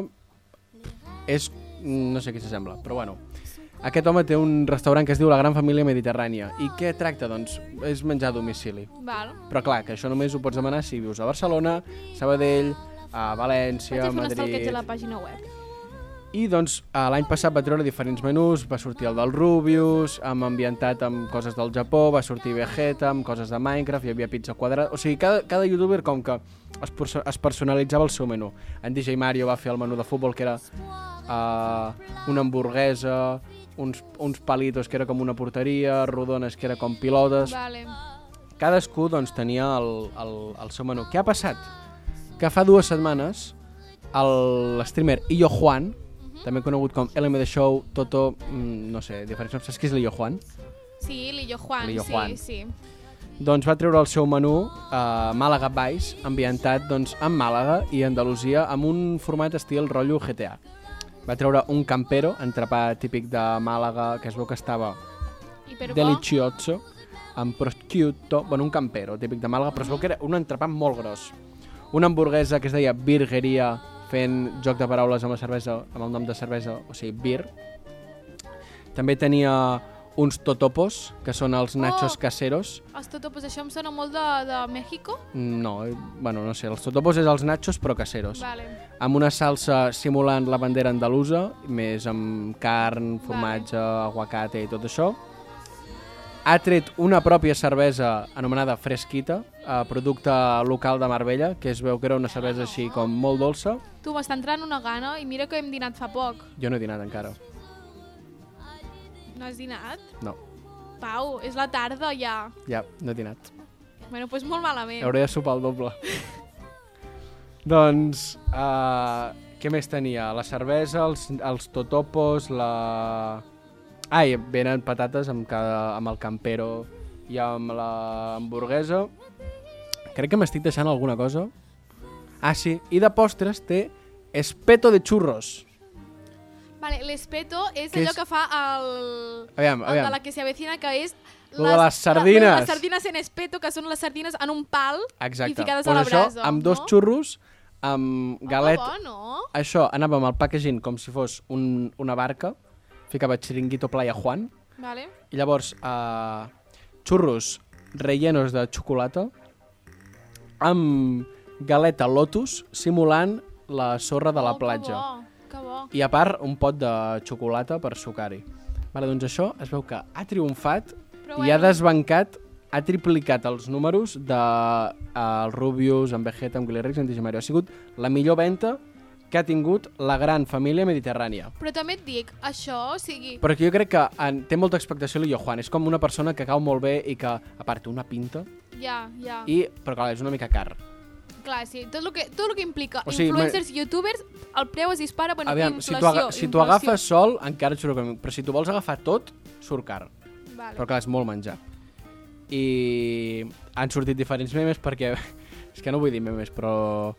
C: És... no sé què s'assembla, però bueno. Aquest home té un restaurant que es diu La Gran Família Mediterrània. I què tracta, doncs? És menjar a domicili.
B: Val.
C: Però clar, que això només ho pots demanar si vius a Barcelona, Sabadell, a
B: Vaig
C: València,
B: a fer
C: a
B: un stalkeig
C: Madrid...
B: a la pàgina web.
C: I doncs eh, l'any passat va treure diferents menús, va sortir el del Rubius, amb ambientat amb coses del Japó, va sortir Vegeta, amb coses de Minecraft, hi havia pizza quadrada... O sigui, cada, cada youtuber com que es, perso- es personalitzava el seu menú. En DJ Mario va fer el menú de futbol que era eh, una hamburguesa, uns, uns palitos que era com una porteria, rodones que era com pilotes
B: Vale.
C: cadascú doncs, tenia el, el, el seu menú. Què ha passat? Que fa dues setmanes el streamer Illo Juan, també conegut com LMD Show, Toto, mm, no sé, diferents noms, saps qui és l'Illo Juan?
B: Sí, l'Illo Juan,
C: L'Illo
B: sí,
C: Juan.
B: sí.
C: Doncs va treure el seu menú a eh, Màlaga Vice, ambientat doncs, en Màlaga i Andalusia, amb un format estil rotllo GTA. va treure un campero, entrepà típic de Màlaga, que es veu que estava
B: I per bo,
C: delicioso, amb prosciutto, bueno, un campero típic de Màlaga, però es veu que era un entrepà molt gros. Una hamburguesa que es deia birgueria, fent joc de paraules amb la cervesa, amb el nom de cervesa, o sigui, bir. També tenia uns totopos, que són els nachos
B: Oh!
C: caseros.
B: els totopos, això em sona molt de, de México.
C: No, eh, bueno, no sé, els totopos és els nachos però caseros.
B: Vale.
C: Amb una salsa simulant la bandera andalusa, més amb carn, formatge, aguacate i tot això. Ha tret una pròpia cervesa anomenada Fresquita, eh, producte local de Marbella, que es veu que era una cervesa així com molt dolça.
B: Tu, m'està entrant una gana i mira que hem dinat fa poc.
C: Jo no he dinat encara,
B: No has dinat?
C: no,
B: Pau, és la tarda ja.
C: ja no he dinat.
B: Bueno, doncs molt malament.
C: Hauré de sopar el doble. doncs, uh, què més tenia? La cervesa, els, els totopos, la... Ah, i venen patates amb, cada, amb el campero i amb la hamburguesa. Crec que m'estic deixant alguna cosa. Ah, sí. I de postres té espeto de churros.
B: Vale, l'espeto és
C: Què
B: allò
C: és?
B: que fa el...
C: Aviam,
B: el de
C: aviam.
B: la que se avecina, que és...
C: Lo de les sardines.
B: La, les sardines en espeto, que són les sardines en un pal
C: Exacte.
B: i ficades
C: Doncs
B: a la brasa.
C: Això, amb dos
B: no?
C: xurros, amb galet,
B: Home, bo, no?
C: Això, anava amb el packaging com si fos un, una barca, ficava Chiringuito Playa Juan,
B: Vale.
C: i llavors eh, xurros rellenos de xocolata amb galeta Lotus simulant la sorra de la
B: Oh,
C: platja.
B: Que bo, que bo.
C: I a part, un pot de xocolata per sucar-hi. Vale, doncs això es veu que ha triomfat
B: Però
C: i ha
B: bueno.
C: desbancat, ha triplicat els números de eh, el Rubius, en Vegeta, amb Guillerix, en Digimario. Ha sigut la millor venda que ha tingut la gran família mediterrània.
B: Però també et dic, això, o sigui...
C: Però que jo crec que en, té molta expectació l'Illo Juan. És com una persona que cau molt bé i que, a part, té una pinta,
B: Ja, ja.
C: i, però clar, és una mica car.
B: Clar, sí. Tot el que, tot el que implica
C: O
B: o sigui,
C: sigui,
B: influencers, youtubers, el preu es dispara, bueno,
C: Aviam, si
B: inflació.
C: tu, aga si tu
B: inflació.
C: agafes sol, encara et surt econòmic, però si tu vols agafar tot, surt car.
B: Vale.
C: Però clar, és molt menjar. I han sortit diferents memes perquè... És que no vull dir memes, però...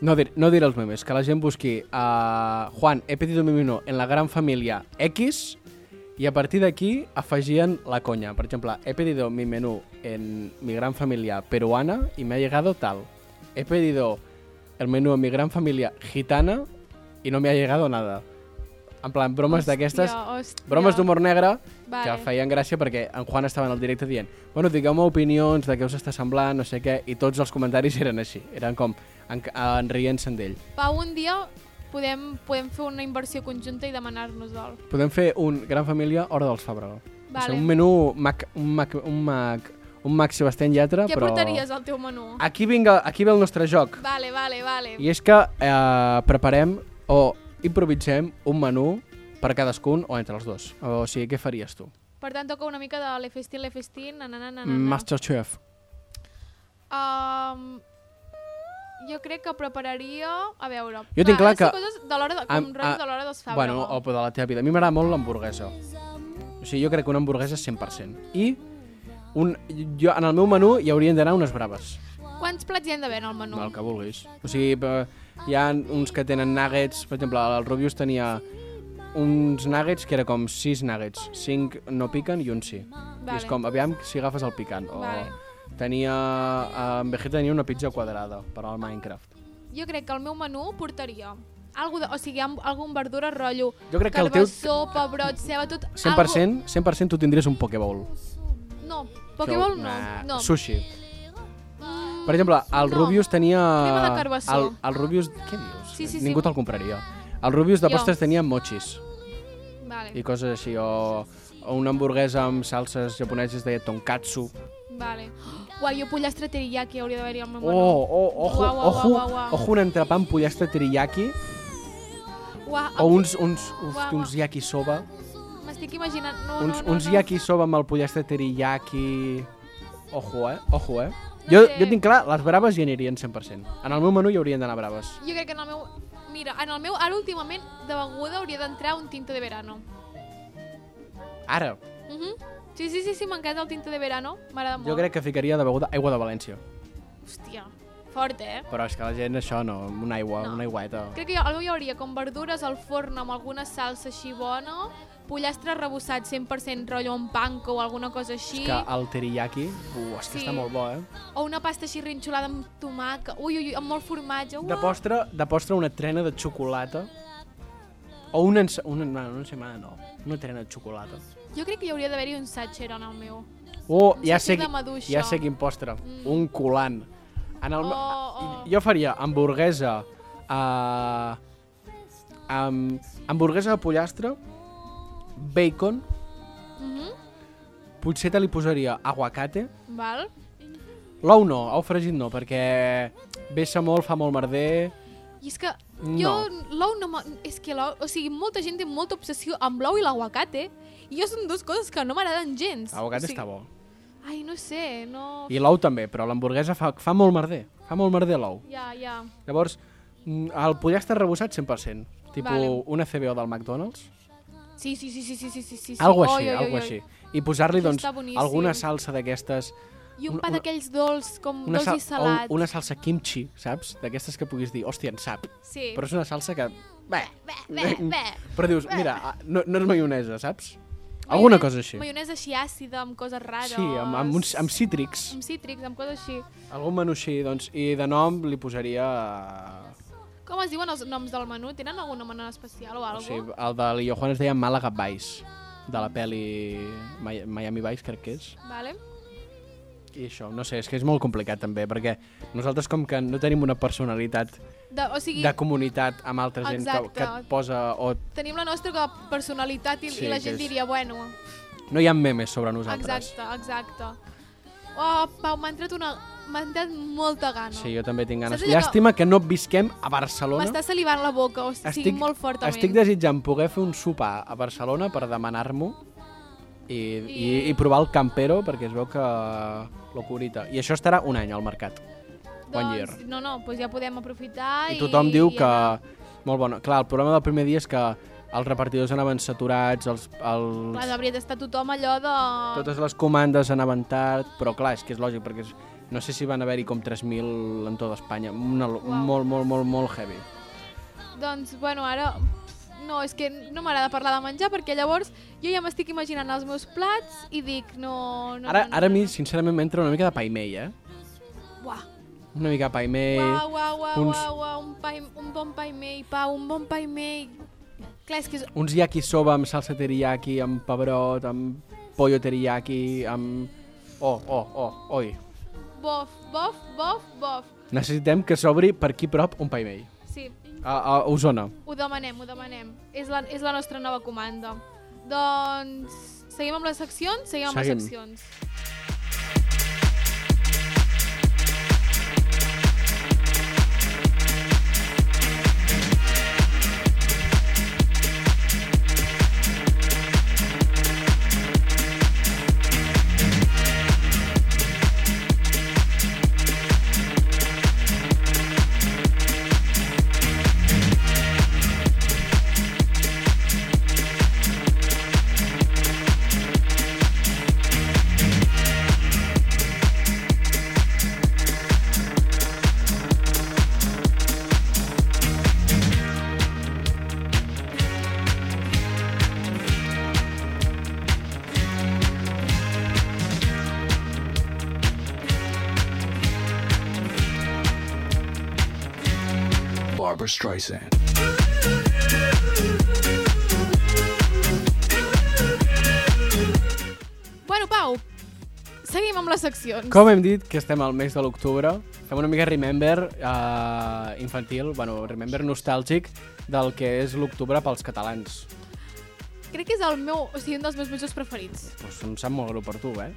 C: No dir, no dir els memes, que la gent busqui a Juan, he pedido mi menú en la gran família X i a partir d'aquí afegien la conya. Per exemple, he pedido mi menú en mi gran familia peruana y me ha llegado tal. He pedido el menú en mi gran familia gitana y no me ha llegado nada. En plan, bromes d'aquestes
B: hòstia.
C: Bromes d'humor negre vale. que
B: Vale.
C: feien gràcia perquè en Juan estava en el directe dient bueno, digueu-me opinions de què us està semblant, no sé què, i tots els comentaris eren així, eren com en, en rient-se'n d'ell.
B: Pau, un dia podem, podem fer una inversió conjunta i demanar-nos-el.
C: Podem fer un Gran Família Hora dels Fabregó. O
B: Vale.
C: sigui, un menú mac, un mac, un mac, un mac Sebastián Llatra,
B: Què
C: però...
B: portaries al teu menú?
C: Aquí, vinga, aquí ve el nostre joc.
B: Vale, vale, vale.
C: I és que eh, preparem o improvisem un menú per cadascun o entre els dos. O sigui, què faries tu?
B: Per tant, toca una mica de l'Efestín, l'Efestín, na, na, na, na, na.
C: Masterchef.
B: Um, jo crec que prepararia... A veure...
C: Jo tinc clar
B: ara són
C: que-
B: Coses de l'hora de,
C: Am-
B: com rotllo
C: ah,
B: de l'hora dels Fàbrega.
C: Bueno, o de la teva vida. A mi m'agrada molt l'hamburguesa. O sigui, jo crec que una hamburguesa 100%. I un, jo, en el meu menú hi haurien d'anar unes braves.
B: Quants plats hi han d'haver en el menú?
C: No. El que vulguis. O sigui, eh, hi ha uns que tenen nuggets. Per exemple, el Rubius tenia uns nuggets que era com 6 nuggets. 5 no piquen i un sí. I és
B: Vale.
C: com, aviam si agafes el picant. O
B: Vale.
C: tenia... eh, En Vegeta tenia una pizza quadrada per al Minecraft.
B: Jo crec que el meu menú portaria algo de, o sigui, amb algun verdura rotllo.
C: Jo crec que el teu-
B: Carbassó, pebrot, ceba, tot...
C: 100%, 100% tu tindries un Pokébowl.
B: Algo... No, Pokéball no.
C: Nah,
B: no.
C: Sushi.
B: Mm,
C: Per exemple, el
B: No.
C: Rubius tenia...
B: Crema de carbassó.
C: El, el Rubius... Què dius?
B: Sí, sí, sí.
C: Ningú te'l compraria. El Rubius de
B: Jo.
C: postres tenia mochis
B: Vale,
C: i coses així, o, o una hamburguesa amb salses japoneses deia tonkatsu.
B: vale. Uai, jo pollastre teriyaki hauria d'haver-hi al meu
C: Oh,
B: menú.
C: oh, ojo,
B: Uau, uau,
C: ojo,
B: uau, uau, uau.
C: ojo un entrepà amb pollastre teriyaki
B: Uà,
C: o uns, uns, uns,
B: Uau,
C: uns yakisoba.
B: M'estic imaginant... No,
C: Uns,
B: no, no,
C: uns
B: no.
C: yakisoba amb el pollastre teriyaki... Ojo, eh? Ojo, eh?
B: No
C: Jo,
B: sé.
C: jo tinc clar, les braves hi anirien 100%. En el meu menú hi haurien d'anar braves.
B: Jo crec que en el meu... Mira, en el meu, ara últimament, de beguda hauria d'entrar un tinto de verano.
C: Ara,
B: Mhm. Sí, sí, sí, sí m'encanta el tinto de verano. M'agrada molt.
C: jo crec que ficaria de beguda aigua de València.
B: Hòstia. Fort, eh?
C: Però és que la gent això no, una aigua,
B: No.
C: una aigüeta.
B: Crec que jo, el meu hi hauria com verdures al forn amb alguna salsa així bona, pollastre rebossat 100% rotllo en panko o alguna cosa així,
C: És que ah. el teriyaki, uh, és
B: Sí.
C: que està molt bo, eh?
B: o una pasta així rinxolada amb tomàquet, ui, ui, ui, amb molt formatge,
C: De
B: uah!
C: postre, de postre una trena de xocolata. O una, ens- una, no, una ensaïmada no, una trena de xocolata.
B: Jo crec que hi hauria d'haver-hi un satxer en el meu.
C: Oh,
B: Un
C: ja
B: sushi
C: sé,
B: de
C: qui-
B: maduixa.
C: ja sé quin postre. Un colant. En el,
B: Oh, oh.
C: Jo faria hamburguesa... Uh, amb hamburguesa de pollastre, bacon,
B: Mm
C: potser te li posaria aguacate,
B: Val?
C: l'ou no, ou fregit no, perquè vessa molt, fa molt merder...
B: I és que jo
C: No.
B: l'ou no... m'a- És que l'ou... O sigui, molta gent té molta obsessió amb l'ou i l'aguacate, i jo són dues coses que no m'agraden gens.
C: L'aguacate
B: o sigui,
C: està bo.
B: Ai, no sé, no...
C: I l'ou també, però l'hamburguesa fa, fa molt merder. Fa molt merder l'ou.
B: Ja, ja.
C: Llavors, mm, el pollastre rebossat 100%. Tipo
B: Vale.
C: una CBO del McDonald's.
B: Sí, sí, sí, sí, sí, sí, sí, sí.
C: Algo
B: Oi, oi,
C: així,
B: oi,
C: algo
B: oi.
C: així. I posar-li,
B: Això
C: doncs,
B: està boníssim.
C: alguna salsa d'aquestes...
B: I un
C: Una-
B: pa
C: una-
B: d'aquells dolç, com
C: Una,
B: dolç
C: sal-
B: i salat.
C: o una salsa kimchi, saps? D'aquestes que puguis dir, hòstia, en sap.
B: Sí.
C: Però és Mm. una salsa que... Bé,
B: Bé, bé, bé.
C: però dius, mira, ah, no, no és maionesa, saps? Alguna
B: Maionesa-
C: cosa així.
B: Maionesa així àcida, amb coses rares.
C: Sí, amb, amb, uns, amb cítrics.
B: Amb cítrics, amb coses així.
C: Algun menú així, doncs. I de nom li posaria...
B: Com es diuen els noms del menú? Tenen algun nom en especial o
C: O
B: alguna
C: sigui, el de l'Illo Juan es deia Málaga Vice, de la peli Mi- Miami Vice, crec que és.
B: Vale?
C: I això, no sé, és que és molt complicat també, perquè nosaltres com que no tenim una personalitat
B: De, o sigui,
C: de comunitat amb altra gent que,
B: Exacte.
C: que et posa... o
B: tenim la nostra com a personalitat i,
C: Sí,
B: i la
C: que
B: gent
C: és-
B: diria, bueno,
C: No hi ha memes sobre nosaltres.
B: exacte, exacte. Oh, Pau, m'ha entrat una... M'ha entrat molta gana.
C: Sí, jo també tinc ganes.
B: Saps allò que-
C: Llàstima que no visquem a Barcelona.
B: M'està salivant la boca, o sigui, molt fortament.
C: Estic desitjant poder fer un sopar a Barcelona per demanar-m'ho i, i...
B: I-
C: i provar el campero perquè es veu que locurita. I això estarà un any al mercat. One year.
B: Doncs, no, no, doncs ja podem aprofitar
C: I tothom diu
B: i
C: que...
B: anar.
C: Molt bona. Clar, el problema del primer dia és que els repartidors anaven saturats, els,
B: Clar,
C: els,
B: devia estar tothom allò de...
C: totes les comandes anaven tard, però clar, és que és lògic, perquè és, no sé si van haver-hi com 3.000 en tota Espanya. Una, lo-
B: Uau.
C: Molt, molt, molt, molt heavy.
B: Doncs, bueno, ara... No, és que no m'agrada parlar de menjar perquè llavors jo ja m'estic imaginant els meus plats i dic no... no
C: Ara,
B: no, no,
C: ara a mi,
B: no.
C: sincerament, m'entra una mica de paimei, eh?
B: Uah,
C: Una mica de paimei...
B: uah, uah, uah,
C: Eh, uns-
B: uah, uah, un, pa, un bon paimei, Pau, un bon paimei. Clar, és que és...
C: uns yakisoba amb salsa teriyaki, amb pebrot, amb pollo teriyaki, amb... Oh, oh, oh, oi.
B: Bof, bof, bof, bof.
C: Necessitem que s'obri per aquí prop un paimei.
B: Sí,
C: A, a Osona.
B: ho demanem, ho demanem. És la, és la nostra nova comanda. Doncs... Seguim amb les seccions? Seguim amb
C: Seguim.
B: les seccions.
G: Barbara Streisand.
B: Bueno, Pau, seguim amb les seccions.
C: Com hem dit que estem al mes de l'octubre, fem una mica remember eh, infantil, bueno, remember nostàlgic del que és l'octubre pels catalans.
B: Crec que és el meu, o sigui, un dels meus mesos preferits.
C: Pues em sap molt greu per tu, eh?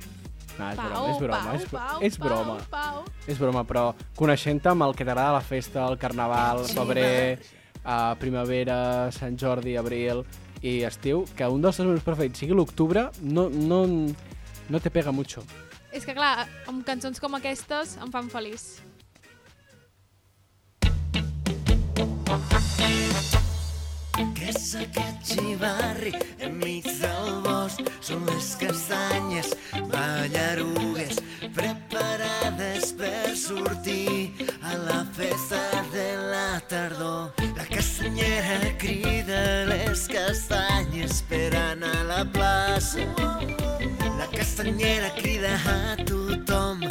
C: No, és
B: Pau,
C: broma, és broma,
B: Pau,
C: és,
B: Pau,
C: és broma.
B: Pau, Pau.
C: És broma, però coneixent-te amb el que t'agrada la festa, el carnaval, febrer, eh, primavera, Sant Jordi, abril i estiu, que un dels teus meus preferits sigui l'octubre, no, no, no te pega mucho.
B: És que clar, amb cançons com aquestes em fan feliç.
H: Casa, catx i barri, enmig del bosc, són les castanyes, ballarugues, prep parades per sortir a la festa de la tardor. La castanyera crida les castanyes esperant a la plaça. La castanyera crida a tothom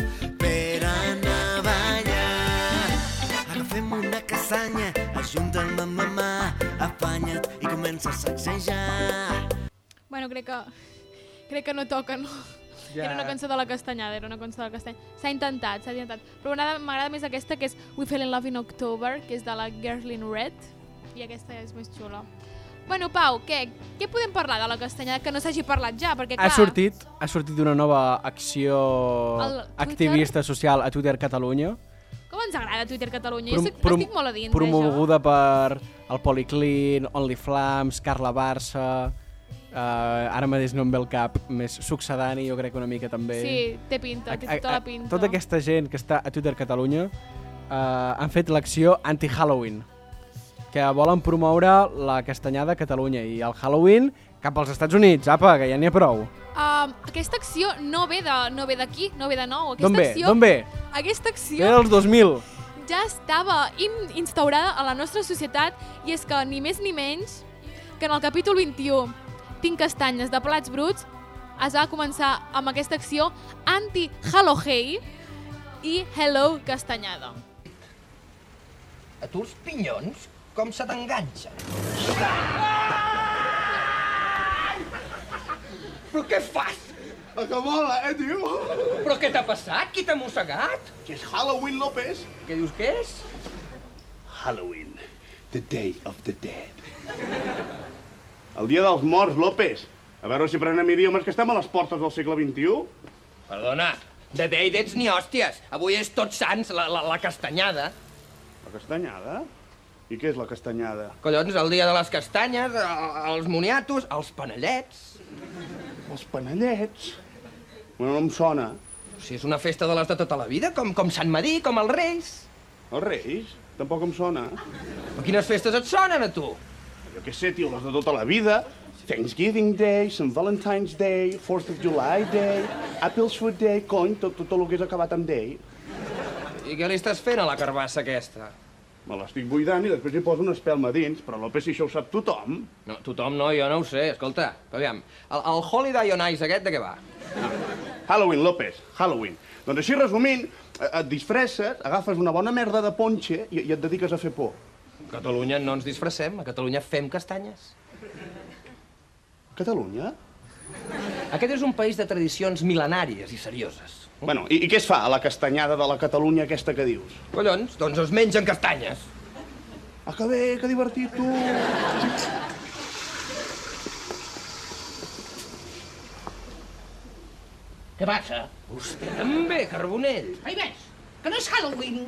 H: per anar a ballar. Agafem una castanya, ajunta'm amb la mà, afanya't i comença a sacsejar.
B: Bueno, crec que... Crec que no toca, no?
C: Ja.
B: Ja. Era una cançó de la castanyada, era una cançó de la castanyada. S'ha intentat, s'ha intentat. Però m'agrada- m'agrada més aquesta, que és We Fell in Love in October, que és de la Girl in Red. I aquesta és més xula. Bueno, Pau, què, què podem parlar de la castanyada que no s'hagi parlat ja? Perquè, clar,
C: Ha sortit, ha sortit una nova acció
B: Al Twitter?
C: activista social a Twitter Catalunya.
B: Com ens agrada Twitter Catalunya?
C: Prom-
B: jo estic,
C: prom-
B: estic molt a dins,
C: Promoguda per el Policlin, OnlyFlams, Carla Barça... Uh, ara mateix no em ve el cap més succedani, jo crec que una mica també.
B: això. Sí, té pinta, té
C: A- a-
B: tota
C: a-
B: la pinta.
C: Tota aquesta gent que està a Twitter Catalunya eh, han fet l'acció anti-Halloween, que volen promoure la castanyada a Catalunya i el Halloween cap als Estats Units, apa, que ja n'hi ha prou.
B: Um, aquesta acció no ve de- no ve d'aquí, no, ve de nou. Aquesta
C: D'on ve?
B: acció,
C: D'on ve? Eh?
B: Aquesta
C: Ve
B: acció
C: dels 2000.
B: ja estava in- instaurada a la nostra societat i és que ni més ni menys que en el capítol 21 Tinc castanyes de plats bruts es va començar amb aquesta acció anti-Hello Hey i Hello Castanyada.
I: A tu els pinyons com se t'enganxen. Però què fas?
J: A que vola, eh, tio?
I: Però què t'ha passat? Qui t'ha mossegat?
J: Que és Halloween, López.
I: Què dius que és?
J: Halloween, the day of the dead. El dia dels morts, López. A veure si prenem idiomes, que estem a les portes del segle XXI.
I: Perdona, de Deidets ni hòsties. Avui és Tots Sants, la, la, la castanyada.
J: La castanyada? I què és la castanyada?
I: Collons, el dia de les castanyes, el- els moniatos, els panellets...
J: Els panellets. Bueno, no em sona.
I: Si és una festa de les de tota la vida, com, com Sant Madí, com els Reis.
J: Els reis? Tampoc em sona.
I: Però quines festes et sonen a tu?
J: Jo què sé, tio, les de tota la vida. Thanksgiving Day, St. Valentine's Day, 4th of July Day, Apples Food Day, cony, tot, tot el que és acabat amb Day.
I: I què li estàs fent a la carbassa aquesta?
J: Me l'estic buidant i després hi poso una espelma dins, però López, si això ho sap tothom.
I: No, tothom no, jo no ho sé, escolta. Aviam, el, el Holiday on Ice aquest de què va?
J: Halloween, López, Halloween. Doncs així resumint, eh, et disfresses, agafes una bona merda de ponxe i, i et dediques a fer por.
I: A Catalunya no ens disfressem, a Catalunya fem castanyes.
J: Catalunya?
I: Aquest és un país de tradicions mil·lenàries i serioses.
J: Bueno, i, i què es fa a la castanyada de la Catalunya aquesta que dius?
I: Collons, doncs es mengen castanyes.
J: Ah, que bé, que divertit, tu!
K: Què passa?
I: Vostè també, Carbonell.
K: Ahí ves, que no és Halloween.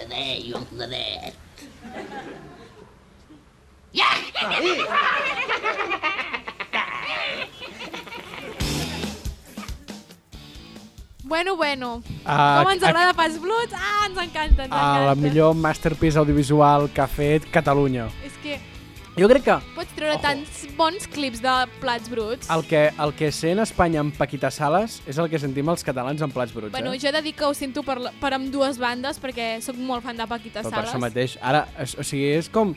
K: De Day of the Dead. Ja!
B: Bueno, bueno.
C: Ah,
B: Com ens
C: ah,
B: agrada pas Bluts? Ah, ens encanta, ens
C: A la
B: encanta.
C: millor masterpiece audiovisual que ha fet Catalunya.
B: És que
C: Jo crec que
B: pots treure tants bons clips de plats bruts.
C: el que, el que sent Espanya amb Paquita Sales és el que sentim els catalans amb plats bruts.
B: Bueno,
C: eh?
B: jo he de dir que ho sento per, la- per amb dues bandes, perquè sóc molt fan de Paquita
C: Però per
B: Sales.
C: això mateix, ara, es- o sigui, és com...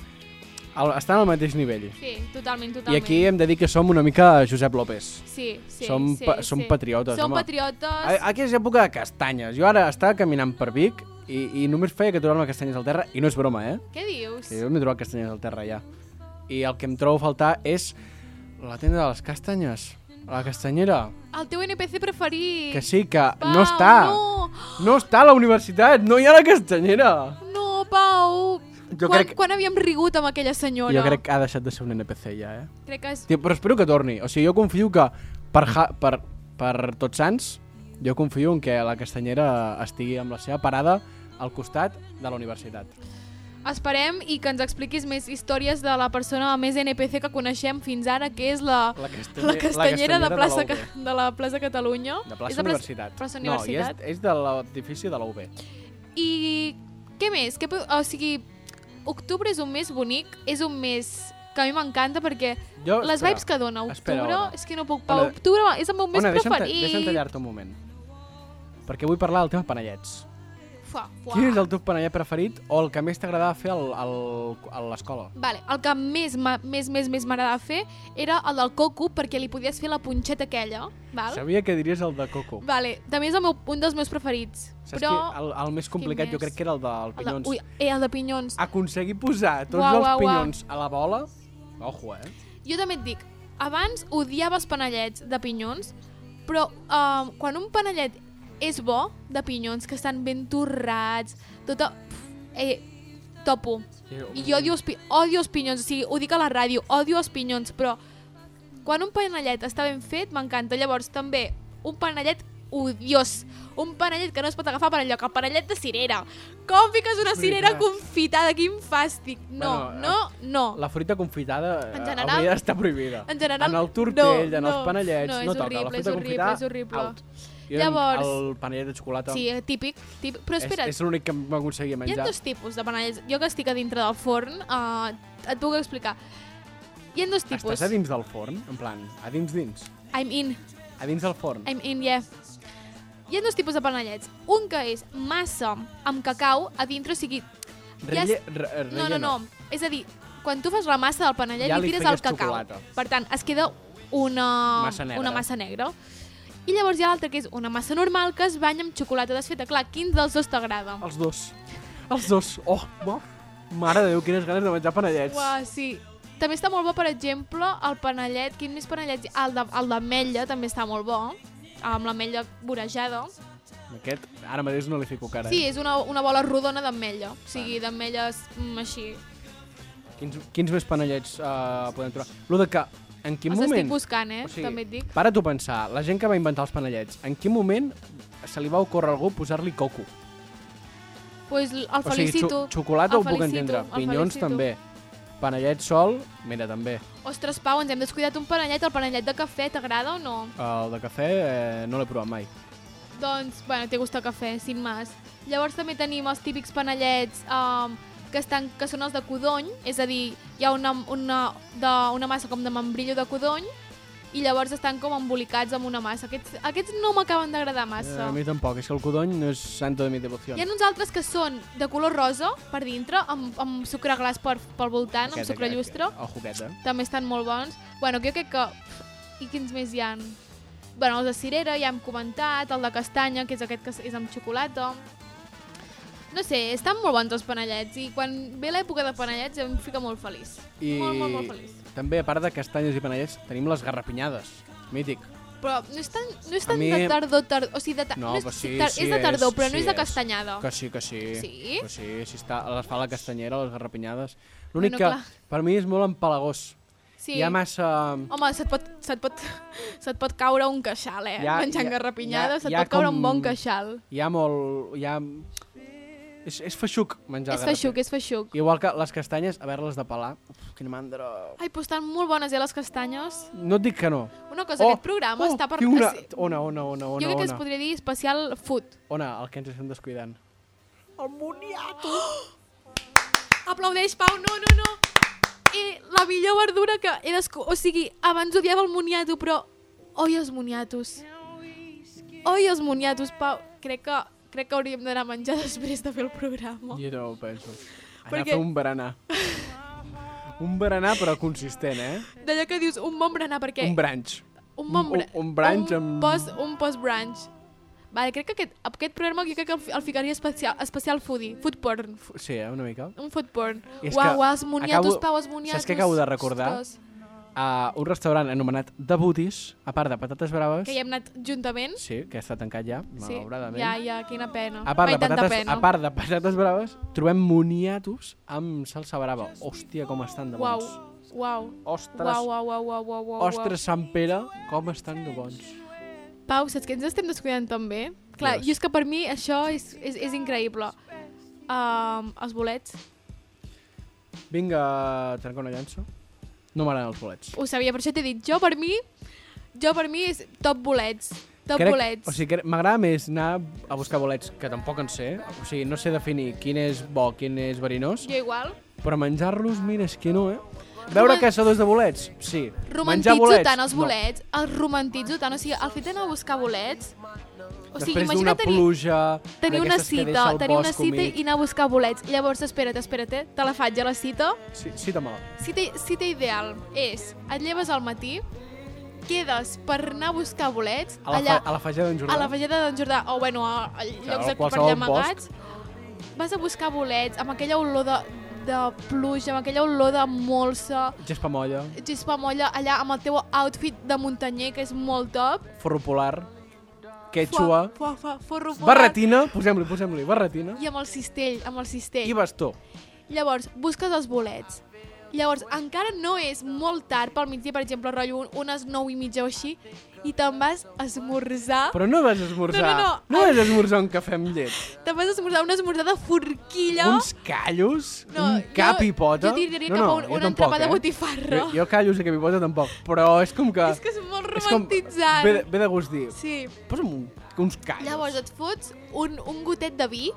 C: El, estan al mateix nivell.
B: Sí, totalment, totalment.
C: I aquí hem de dir que som una mica Josep López.
B: Sí, sí,
C: Som
B: sí,
C: pa-
B: sí.
C: som patriotes,
B: Som
C: home.
B: patriotes.
C: A, aquí és època de castanyes. Jo ara estava caminant per Vic i, i només feia que trobar-me castanyes al terra, i no és broma, eh?
B: Què dius?
C: Sí, jo m'he trobat castanyes al terra ja. I el que em trobo a faltar és la tenda de les castanyes, a la castanyera,
B: El teu NPC preferit.
C: que sí, que
B: Pau,
C: no està.
B: No,
C: no està a la universitat, no hi ha la castanyera.
B: no Pau.
C: Jo
B: quan,
C: crec-
B: quan havíem rigut amb aquella senyora?
C: Jo crec que ha deixat de ser un NPC ja, eh?
B: crec que és...
C: Tio, però espero que torni. O sigui, jo confio que per, ha per, per Tots Sants, jo confio en que la castanyera estigui amb la seva parada al costat de la universitat.
B: Esperem i que ens expliquis més històries de la persona més NPC que coneixem fins ara, que és la,
C: La castanyer-
B: la castanyera,
C: la
B: de, plaça,
C: castanyera de la
B: Ca- de la plaça Catalunya.
C: De plaça
B: És la
C: Universitat.
B: Plaça
C: No,
B: Universitat.
C: i és, és de l'edifici de la UB.
B: I què més? Què, po- o sigui, octubre és un mes bonic, és un mes que a mi m'encanta perquè
C: Jo-
B: les
C: Oh, espera,
B: vibes que dona
C: espera,
B: octubre,
C: Ona.
B: és que no puc... Pau,
C: Ona,
B: octubre és el meu mes
C: Ona, deixa'm, ta-
B: preferit.
C: deixa'm tallar-te un moment. perquè vull parlar del tema panellets.
B: Fuà, fuà.
C: Quin és el teu panellet preferit o el que més t'agradava fer al, al, a l'escola?
B: Vale, el que més, ma- més, més, més m'agradava fer era el del coco, perquè li podies fer la punxeta aquella, val?
C: Sabia que diries el de coco.
B: Vale, també és el meu, un dels meus preferits.
C: Saps
B: però...
C: que el, el més complicat jo
B: més?
C: crec que era el
B: el
C: del
B: de,
C: pinyons.
B: ui, eh, el de pinyons.
C: Aconseguir posar tots
B: Uau,
C: els
B: uau, uau.
C: pinyons a la bola... Ojo, eh?
B: Jo també et dic, abans odiava els panellets de pinyons, però eh, quan un panellet és bo, de pinyons, que estan ben torrats, tota... Pf, eh, topo. I jo odio els, pi odio els pinyons, o sigui, ho dic a la ràdio, odio els pinyons, però quan un panellet està ben fet, m'encanta. Llavors, també, un panellet odiós, un panellet que no es pot agafar per enlloc, el panellet de cirera. Com fiques una
C: És
B: cirera
C: veritat.
B: confitada? Quin fàstic. No,
C: Bueno,
B: no, no.
C: La fruita confitada eh,
B: En general-
C: hauria d'estar prohibida.
B: en general,
C: En el tortell,
B: no,
C: en
B: no,
C: els panellets,
B: no,
C: no,
B: és
C: toca.
B: horrible,
C: la
B: és
C: fruita
B: horrible,
C: confitada,
B: és horrible.
C: out. Jo,
B: Llavors-
C: El panellet de xocolata
B: Sí, eh, típic. típic però
C: és,
B: espera,
C: és l'únic que m'aconseguia
B: hi ha
C: menjar.
B: dos tipus de panellets. Jo que estic a dintre del forn, eh, et puc explicar. Hi ha dos tipus.
C: Estàs a dins del forn? En plan, a dins dins?
B: I'm in,
C: A dins del forn?
B: I'm in, yeah. Hi ha dos tipus de panellets. Un que és massa amb cacau a dintre, o sigui... ja
C: Relle,
B: és-
C: re, relle
B: No, no, no. És a dir, quan tu fas la massa del panellet,
C: Ja
B: li
C: li
B: tires
C: feies
B: el cacau.
C: xocolata.
B: Per tant, es queda una
C: Massa negra.
B: una massa negra. I llavors hi ha l'altra, que és una massa normal que es banya amb xocolata desfeta. Clar, quin dels dos t'agrada?
C: Els dos. Els dos. Oh, bo. Mare de Déu, quines ganes de menjar panellets.
B: Uah, sí. També està molt bo, per exemple, el panellet. Quin més panellet? Ah, El de- el d'ametlla també està molt bo, amb l'ametlla vorejada.
C: Aquest, ara mateix no li fico cara. eh.
B: Sí, és una, una bola rodona d'ametlla. O sigui, d'ametlles mm, així.
C: Quins, quins més panellets uh, podem trobar? Lo de que, en quin
B: Els estic
C: moment...
B: buscant, eh? També et dic.
C: Para tu a pensar, la gent que va inventar els panellets, en quin moment se li va ocórrer a algú posar-li coco?
B: Pues l- el
C: o sigui,
B: felicito.
C: xocolata ho
B: El
C: puc
B: felicito,
C: entendre,
B: el
C: pinyons
B: felicito.
C: també, panellet sol, mira, també.
B: Ostres, Pau, ens hem descuidat un panellet. El panellet de cafè t'agrada o no?
C: El de cafè eh, no l'he provat mai.
B: Doncs, bueno, té gust a cafè, sin más. Llavors també tenim els típics panellets um, que, estan, que són els de codony, és a dir, hi ha una, una, de, una massa com de membrillo de codony i llavors estan com embolicats amb una massa. Aquests, aquests no m'acaben d'agradar massa.
C: Eh, a mi tampoc, és que el codony no és santo de mi devoció.
B: Hi ha uns altres que són de color rosa per dintre, amb, amb sucre glaç per, pel voltant, amb sucre llustre.
C: El juguet, eh?
B: També estan molt bons. Bueno, jo crec que... I quins més hi han? Bueno, els de cirera ja hem comentat, el de castanya, que és aquest que és amb xocolata. No sé, estan molt bons els panellets i quan ve l'època de panellets em fica molt feliç.
C: I
B: Molt, molt, molt feliç.
C: també, a part de castanyes i panellets, tenim les garrapinyades. Mític.
B: Però no és tan, no és tan
C: mi-
B: de tardor, tardor... O sigui, de ta...
C: No,
B: no és,
C: però sí,
B: tar-
C: sí,
B: és de tardor,
C: és,
B: però no
C: sí,
B: és de
C: és.
B: castanyada.
C: Que sí, que sí.
B: Sí?
C: Que sí, si està, les fa la castanyera, les garrapinyades. L'únic
B: Bueno,
C: que,
B: clar.
C: per mi, és molt empalagós.
B: Sí.
C: Hi ha massa...
B: Home, se't pot, se't pot, se't pot caure un queixal, eh?
C: Hi ha-
B: Menjant
C: hi ha-
B: garrapinyada,
C: hi ha-
B: se't
C: hi ha
B: pot caure un
C: com-
B: bon queixal.
C: Hi ha molt... Hi ha... És, és feixuc menjar
B: És feixuc, eh. és feixuc.
C: Igual que les castanyes, haver-les de pelar. Uf, quina mandra...
B: Ai, però estan molt bones, eh, les castanyes?
C: No et dic que no.
B: Una cosa, aquest programa està per-
C: tinc Una...
B: sí.
C: Ona, ona, ona,
B: Bona,
C: ona,
B: jo crec que es
C: ona.
B: podria dir especial food.
C: Ona, el que ens estem descuidant.
B: El moniato! Aplaudeix, Pau, no, no, no! I la millor verdura que he desco... O sigui, abans odiava el moniato, però... Oi els moniatos. Oi els moniatos, Pau. Crec que, crec que hauríem d'anar a menjar després de fer el programa.
C: Jo no ho penso. Anar
B: Oh. Perquè-
C: a fer un berenar. un berenar, però consistent, eh?
B: D'allò que dius, un bon berenar, perquè...
C: Un brunch.
B: Un bon
C: un,
B: bra-
C: un brunch amb...
B: Post, un post-brunch. Vale, crec que aquest, aquest programa jo crec que el, fi- el ficaria especial, especial foodie, food porn.
C: Sí, eh, una mica.
B: Un food porn.
C: I és
B: Uau,
C: que
B: uau, els moniatos,
C: acabo-
B: Pau, els moniatos.
C: Saps què acabo de recordar?
B: Ostres,
C: A un restaurant anomenat The Booties, a part de patates braves...
B: que hi hem anat juntament.
C: Sí, que està tancat ja, malauradament.
B: Ja, ja, quina pena.
C: A part, de
B: Mai tanta
C: patates,
B: pena.
C: a part de patates braves, trobem moniatos amb salsa brava. Hòstia, com estan de
B: Uau,
C: bons.
B: uau.
C: Ostres.
B: Uau, uau, uau, uau, uau, uau.
C: Ostres, Sant Pere, com estan de bons.
B: Pau, saps que ens estem descuidant també? Clar, jo és que per mi això és, és, és increïble. Um, els bolets.
C: Vinga, trenca una llança. No m'agraden els bolets.
B: Ho sabia, per això t'he dit. Jo, per mi, jo per mi és top bolets. Top
C: Crec-
B: bolets.
C: O sigui, crec- m'agrada més anar a buscar bolets, que tampoc en sé. O sigui, no sé definir quin és bo, quin és verinós,
B: Jo igual.
C: però menjar-los, mira, és que no, eh? Veure
B: Roman-
C: caçadors de bolets? Sí. Menjar
B: Romantitzo
C: bolets?
B: tant els
C: No.
B: bolets, no. els romantitzo tant. O sigui, el fet d'anar a buscar bolets O sigui,
C: Després
B: imagina
C: d'una
B: tenir-
C: pluja...
B: Tenir una
C: d'aquestes que deixa
B: cita,
C: el
B: tenir una
C: bosc
B: cita
C: humit.
B: i anar a buscar bolets. Llavors, espera't, espera't, eh? te la faig a la cita.
C: Sí, sí, demà.
B: Cita, cita ideal és, et lleves al matí, quedes per anar a buscar bolets
C: A la,
B: allà,
C: fa, a la fageda d'en Jordà.
B: a la fallada d'en Jordà, o bueno, a, a llocs aquí per
C: qualsevol
B: allà amagats, vas a buscar bolets amb aquella olor de, de pluja, amb aquella olor de molsa,
C: Gespa molla,
B: gespa molla allà amb el teu outfit de muntanyer, que és molt top.
C: forro polar, quechua,
B: Fuà, fuà, forro volat.
C: barretina, posem-li, posem-li, barretina,
B: I amb el cistell, amb el cistell.
C: i bastó.
B: Llavors, busques els bolets. Llavors, encara no és molt tard pel migdia, per exemple, rotllo un- unes 9 i mitja o així, i te'n vas a esmorzar...
C: Però no vas esmorzar.
B: No, no, no.
C: no vas esmorzar un cafè amb llet.
B: Te'n vas a esmorzar una esmorzada forquilla...
C: Uns callos,
B: No,
C: un cap
B: jo-
C: i pota.
B: jo diria
C: no,
B: cap
C: no,
B: a un-
C: jo
B: un
C: tampoc,
B: entrepà de
C: eh?
B: botifarra.
C: Jo, jo callos i cap i pota tampoc, però és com que...
B: És que és molt
C: és com-
B: romantitzant.
C: Ve, de- ve de gust dir,
B: Sí.
C: posa'm un, uns callos.
B: Llavors et fots un, un gotet de vi,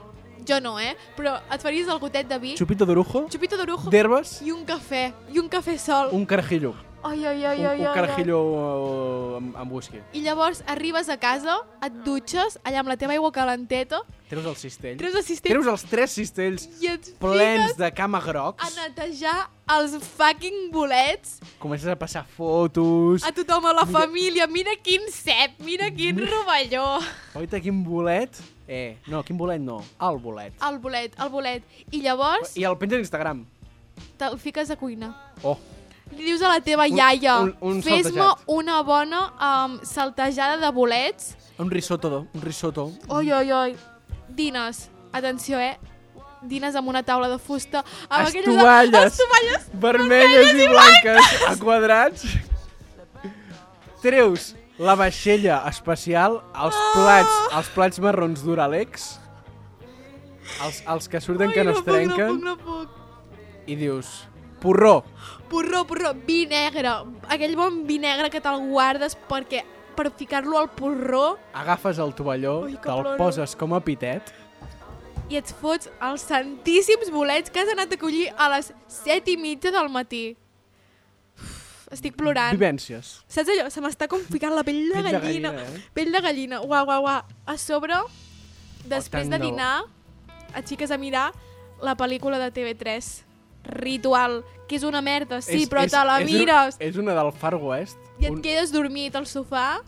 B: jo no, eh? Però et faries el gotet de vi,
C: Chupito d'orujo,
B: xupito d'orujo
C: d'herbes,
B: i un cafè, i un cafè sol.
C: un carajillo.
B: Ai, ai, ai, ai,
C: Un, un
B: ai, ai.
C: carajillo eh, amb, amb whisky.
B: I llavors arribes a casa, et dutxes, allà amb la teva aigua calenteta,
C: Treus el cistell.
B: Treus el cistell.
C: Treus els tres cistells
B: i et
C: plens
B: fiques
C: de cama groc.
B: a netejar els fucking bolets
C: Comences a passar fotos.
B: a tothom, a la família. Mira quin cep, mira quin rovelló.
C: Oita, quin bolet. Eh, no, quin bolet no. El bolet.
B: El bolet, el bolet. I llavors
C: I el penja a Instagram.
B: te'l fiques a cuina.
C: Oh,
B: Li dius a la teva
C: Un-
B: iaia,
C: un- un
B: fes-me
C: saltejat."
B: una bona um, saltejada de bolets.
C: un risotto, do, un risotto.
B: Oi, oi, oi. Dines, atenció, eh? Dines amb una taula de fusta. Amb aquelles de-
C: Estovalles.
B: Estovalles
C: Vermelles i blanques, a quadrats. Treus la vaixella especial, els
B: Ah!
C: plats, els plats marrons d'Uralex, els, els que surten que no es trenquen,
B: No puc, no puc,
C: i dius, porró,
B: no puc. Porró, porró, vi negre. Aquell bon vi negre que te'l guardes perquè per ficar-lo al porró
C: agafes el tovalló,
B: Ui, que
C: te'l
B: ploro.
C: poses com a pitet,
B: i et fots els santíssims bolets que has anat a collir a les 7 i mitja del matí. Uf, estic plorant.
C: vivències.
B: Saps allò? Se m'està com ficant la pell de
C: Pell de
B: gallina.
C: gallina, eh? Oh,
B: Pell de gallina. Uau, uau, uau. A sobre, després
C: tant
B: de
C: de bo.
B: dinar, et fiques a mirar la pel·lícula de TV3. Ritual, que és una merda, sí,
C: És-
B: però
C: és-
B: te la
C: és, un-
B: mires.
C: És una del Far West.
B: I et quedes dormit al sofà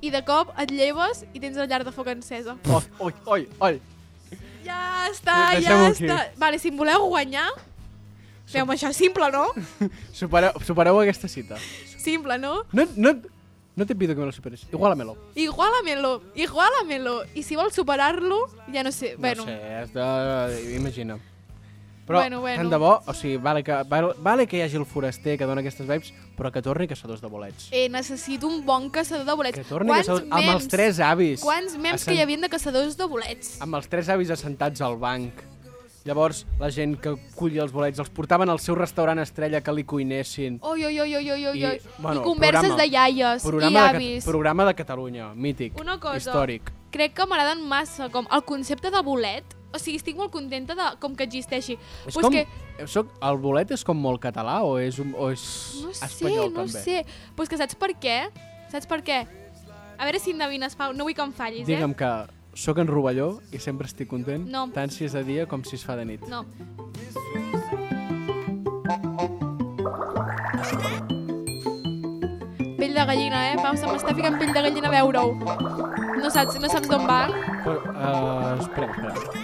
B: i de cop et lleves i tens el llar de foc encesa.
C: Oi, Oh, oi, oi, oi.
B: Ja està,
C: De-
B: ja
C: Eh, deixem-ho aquí.
B: està. Vale, si em voleu guanyar, feu-me això simple, no?
C: Supereu, supereu aquesta cita.
B: Simple, no?
C: No, no, no te pido que me lo superes. Igualamelo.
B: Igualamelo, igualamelo. I si vols superar-lo, ja no sé. bueno,
C: No sé, has de... Imagina. Però
B: Bueno, bueno.
C: tant de bo, o sigui, vale que, vale, vale que hi hagi el foraster que dona aquestes vibes, però que torni caçadors de bolets.
B: Eh, necessito un bon caçador de bolets.
C: Que torni caçador- amb els tres avis.
B: Quants mems
C: Ascen-
B: que hi havia de caçadors de bolets?
C: Amb els tres avis assentats al banc. Llavors, la gent que collia els bolets els portaven al seu restaurant estrella que li cuinessin.
B: Oi, oi, oi, oi, oi, oi, oi. I,
C: bueno,
B: converses
C: programa-
B: de iaies i
C: programa De,
B: avis.
C: Ca- programa de Catalunya, mític,
B: Una cosa,
C: històric.
B: crec que m'agraden massa, com el concepte de bolet. O sigui, estic molt contenta de com que existeixi.
C: És
B: Pues
C: com, eh,
B: que,
C: soc, el bolet és com molt català o és, un- o és
B: no sé,
C: espanyol
B: no
C: també?
B: sé. Pues que saps per què? Saps per què? A veure si endevines, Pau, no vull que em fallis, eh?
C: Digue'm que sóc en Rovelló i sempre estic content,
B: No.
C: tant si és de dia com si es fa de nit.
B: eh? No. Pell de gallina, eh? Pau, se m'està ficant pell de gallina a veure-ho. No saps, no saps d'on va?
C: Però, uh, espera, espera.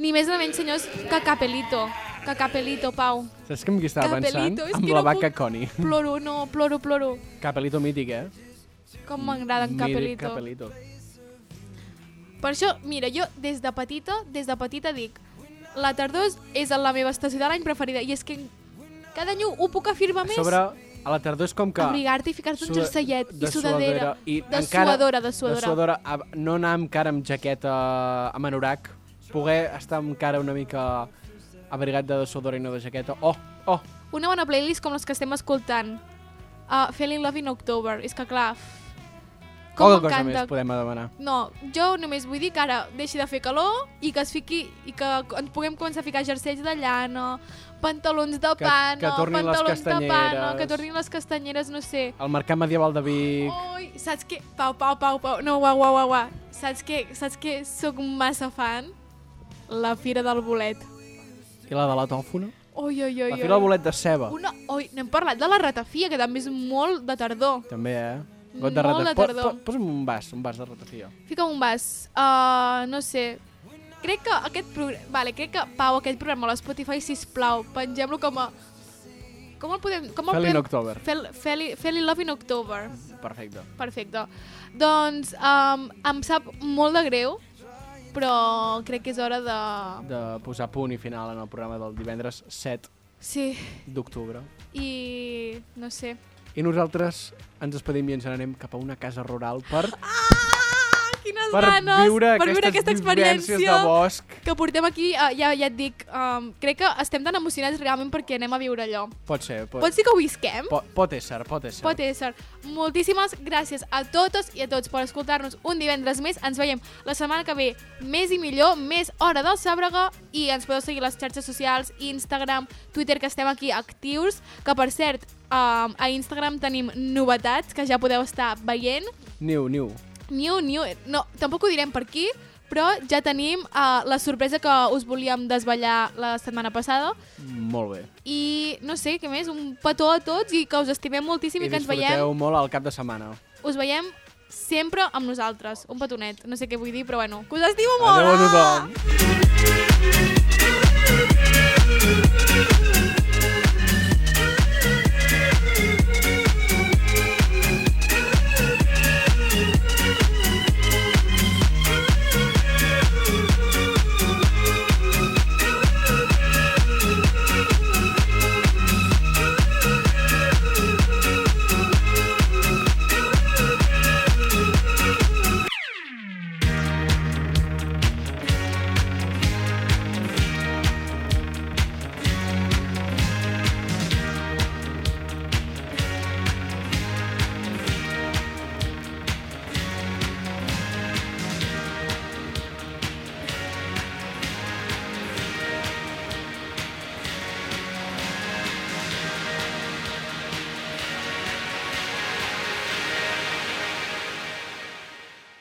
B: Ni més ni menys, senyors, que Capelito. Que Capelito, Pau.
C: Saps que amb qui estava
B: Capelito, és
C: pensant? Amb
B: que
C: la
B: no
C: vaca
B: puc-
C: Connie.
B: Ploro, no, ploro, ploro.
C: Capelito mític, eh?
B: Com m'agrada en
C: Mític
B: Capelito.
C: Capelito.
B: Per això, mira, jo des de petita, des de petita dic, la tardor és- és la meva estació de l'any preferida i és que cada any ho puc afirmar
C: A
B: més.
C: sobre, a la tardor és com que...
B: Abrigar-te i ficar-te un
C: sua-
B: jerseillet i
C: de
B: sudadera.
C: suadera, I
B: de,
C: encara-
B: suadora, de suadora,
C: De suadora, a- no anar amb cara amb jaqueta amb anorac, poder estar amb cara una mica abrigat de suadora i no de jaqueta. Oh, oh,
B: Una bona Ah, playlist com les que estem escoltant. Uh, Feeling Love in October. És que, clar, f-
C: Qualque cosa
B: m'encanta.
C: més podem demanar.
B: No, jo només vull dir que ara deixi de fer calor i que es fiqui i que ens puguem començar a ficar jerseis de llana, pantalons de
C: Que-
B: pana,
C: que tornin les
B: pantalons de pana,
C: castanyeres.
B: que tornin les castanyeres, no sé.
C: El mercat medieval de Vic...
B: Ui, saps què? Pau, pau, pau, pau. No, uau, uau, uau, uau. Saps què? Saps què? Soc massa fan. La Fira del Bolet.
C: I la de la tòfona?
B: Ui, ui, ui.
C: La
B: ui.
C: fira del bolet de ceba.
B: Una... Ui, n'hem parlat de la ratafia, que també és molt de tardor.
C: També, eh? Got
B: Molt de
C: de rata. Po-
B: tardor.
C: po- Posa'm un vas, un vas de ratafia.
B: Fica un vas. Uh, no sé. Crec que aquest programa... Vale, crec que, Pau, aquest programa a l'Spotify, sisplau, pengem-lo com a... Com el podem... Com el
C: Feli
B: podem...
C: in October.
B: Fel, Feli, Feli Love in October.
C: Perfecte.
B: Perfecte. Doncs um, em sap molt de greu, però crec que és hora de...
C: De posar punt i final en el programa del divendres 7
B: Sí,
C: d'octubre.
B: i... no sé.
C: I nosaltres ens despedim i ens n'anem cap a una casa rural per...
B: Ah, Quines
C: Per
B: ganes
C: viure
B: per viure
C: aquestes
B: aquesta
C: vivències
B: experiència
C: de bosc.
B: que portem aquí. Uh, ja, ja et dic, um, crec que estem tan emocionats realment perquè anem a viure allò.
C: Pot ser, pot,
B: Pot ser que ho visquem?
C: po- pot ésser, pot ésser.
B: Pot e- ésser. Moltíssimes gràcies a totes i a tots per escoltar-nos un divendres més. Ens veiem la setmana que ve més i millor, més hora del Sàbrega i ens podeu seguir a les xarxes socials, Instagram, Twitter, que estem aquí actius, que per cert, um, a Instagram tenim novetats que ja podeu estar veient.
C: Niu, niu.
B: New, new, no, tampoc ho direm per aquí, però ja tenim uh, la sorpresa que us volíem desvetllar la setmana passada.
C: Molt bé.
B: I no sé, què més, un petó a tots i que us estimem moltíssim i,
C: I
B: que ens veiem
C: disfruteu molt al cap de setmana.
B: us veiem sempre amb nosaltres. Un petonet. No sé què vull dir, però bueno, que us estimo molt!
C: Adéu a tothom.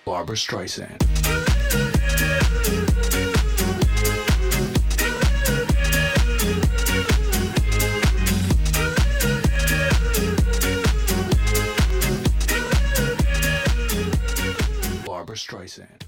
G: Barbara Streisand. Barbara Streisand.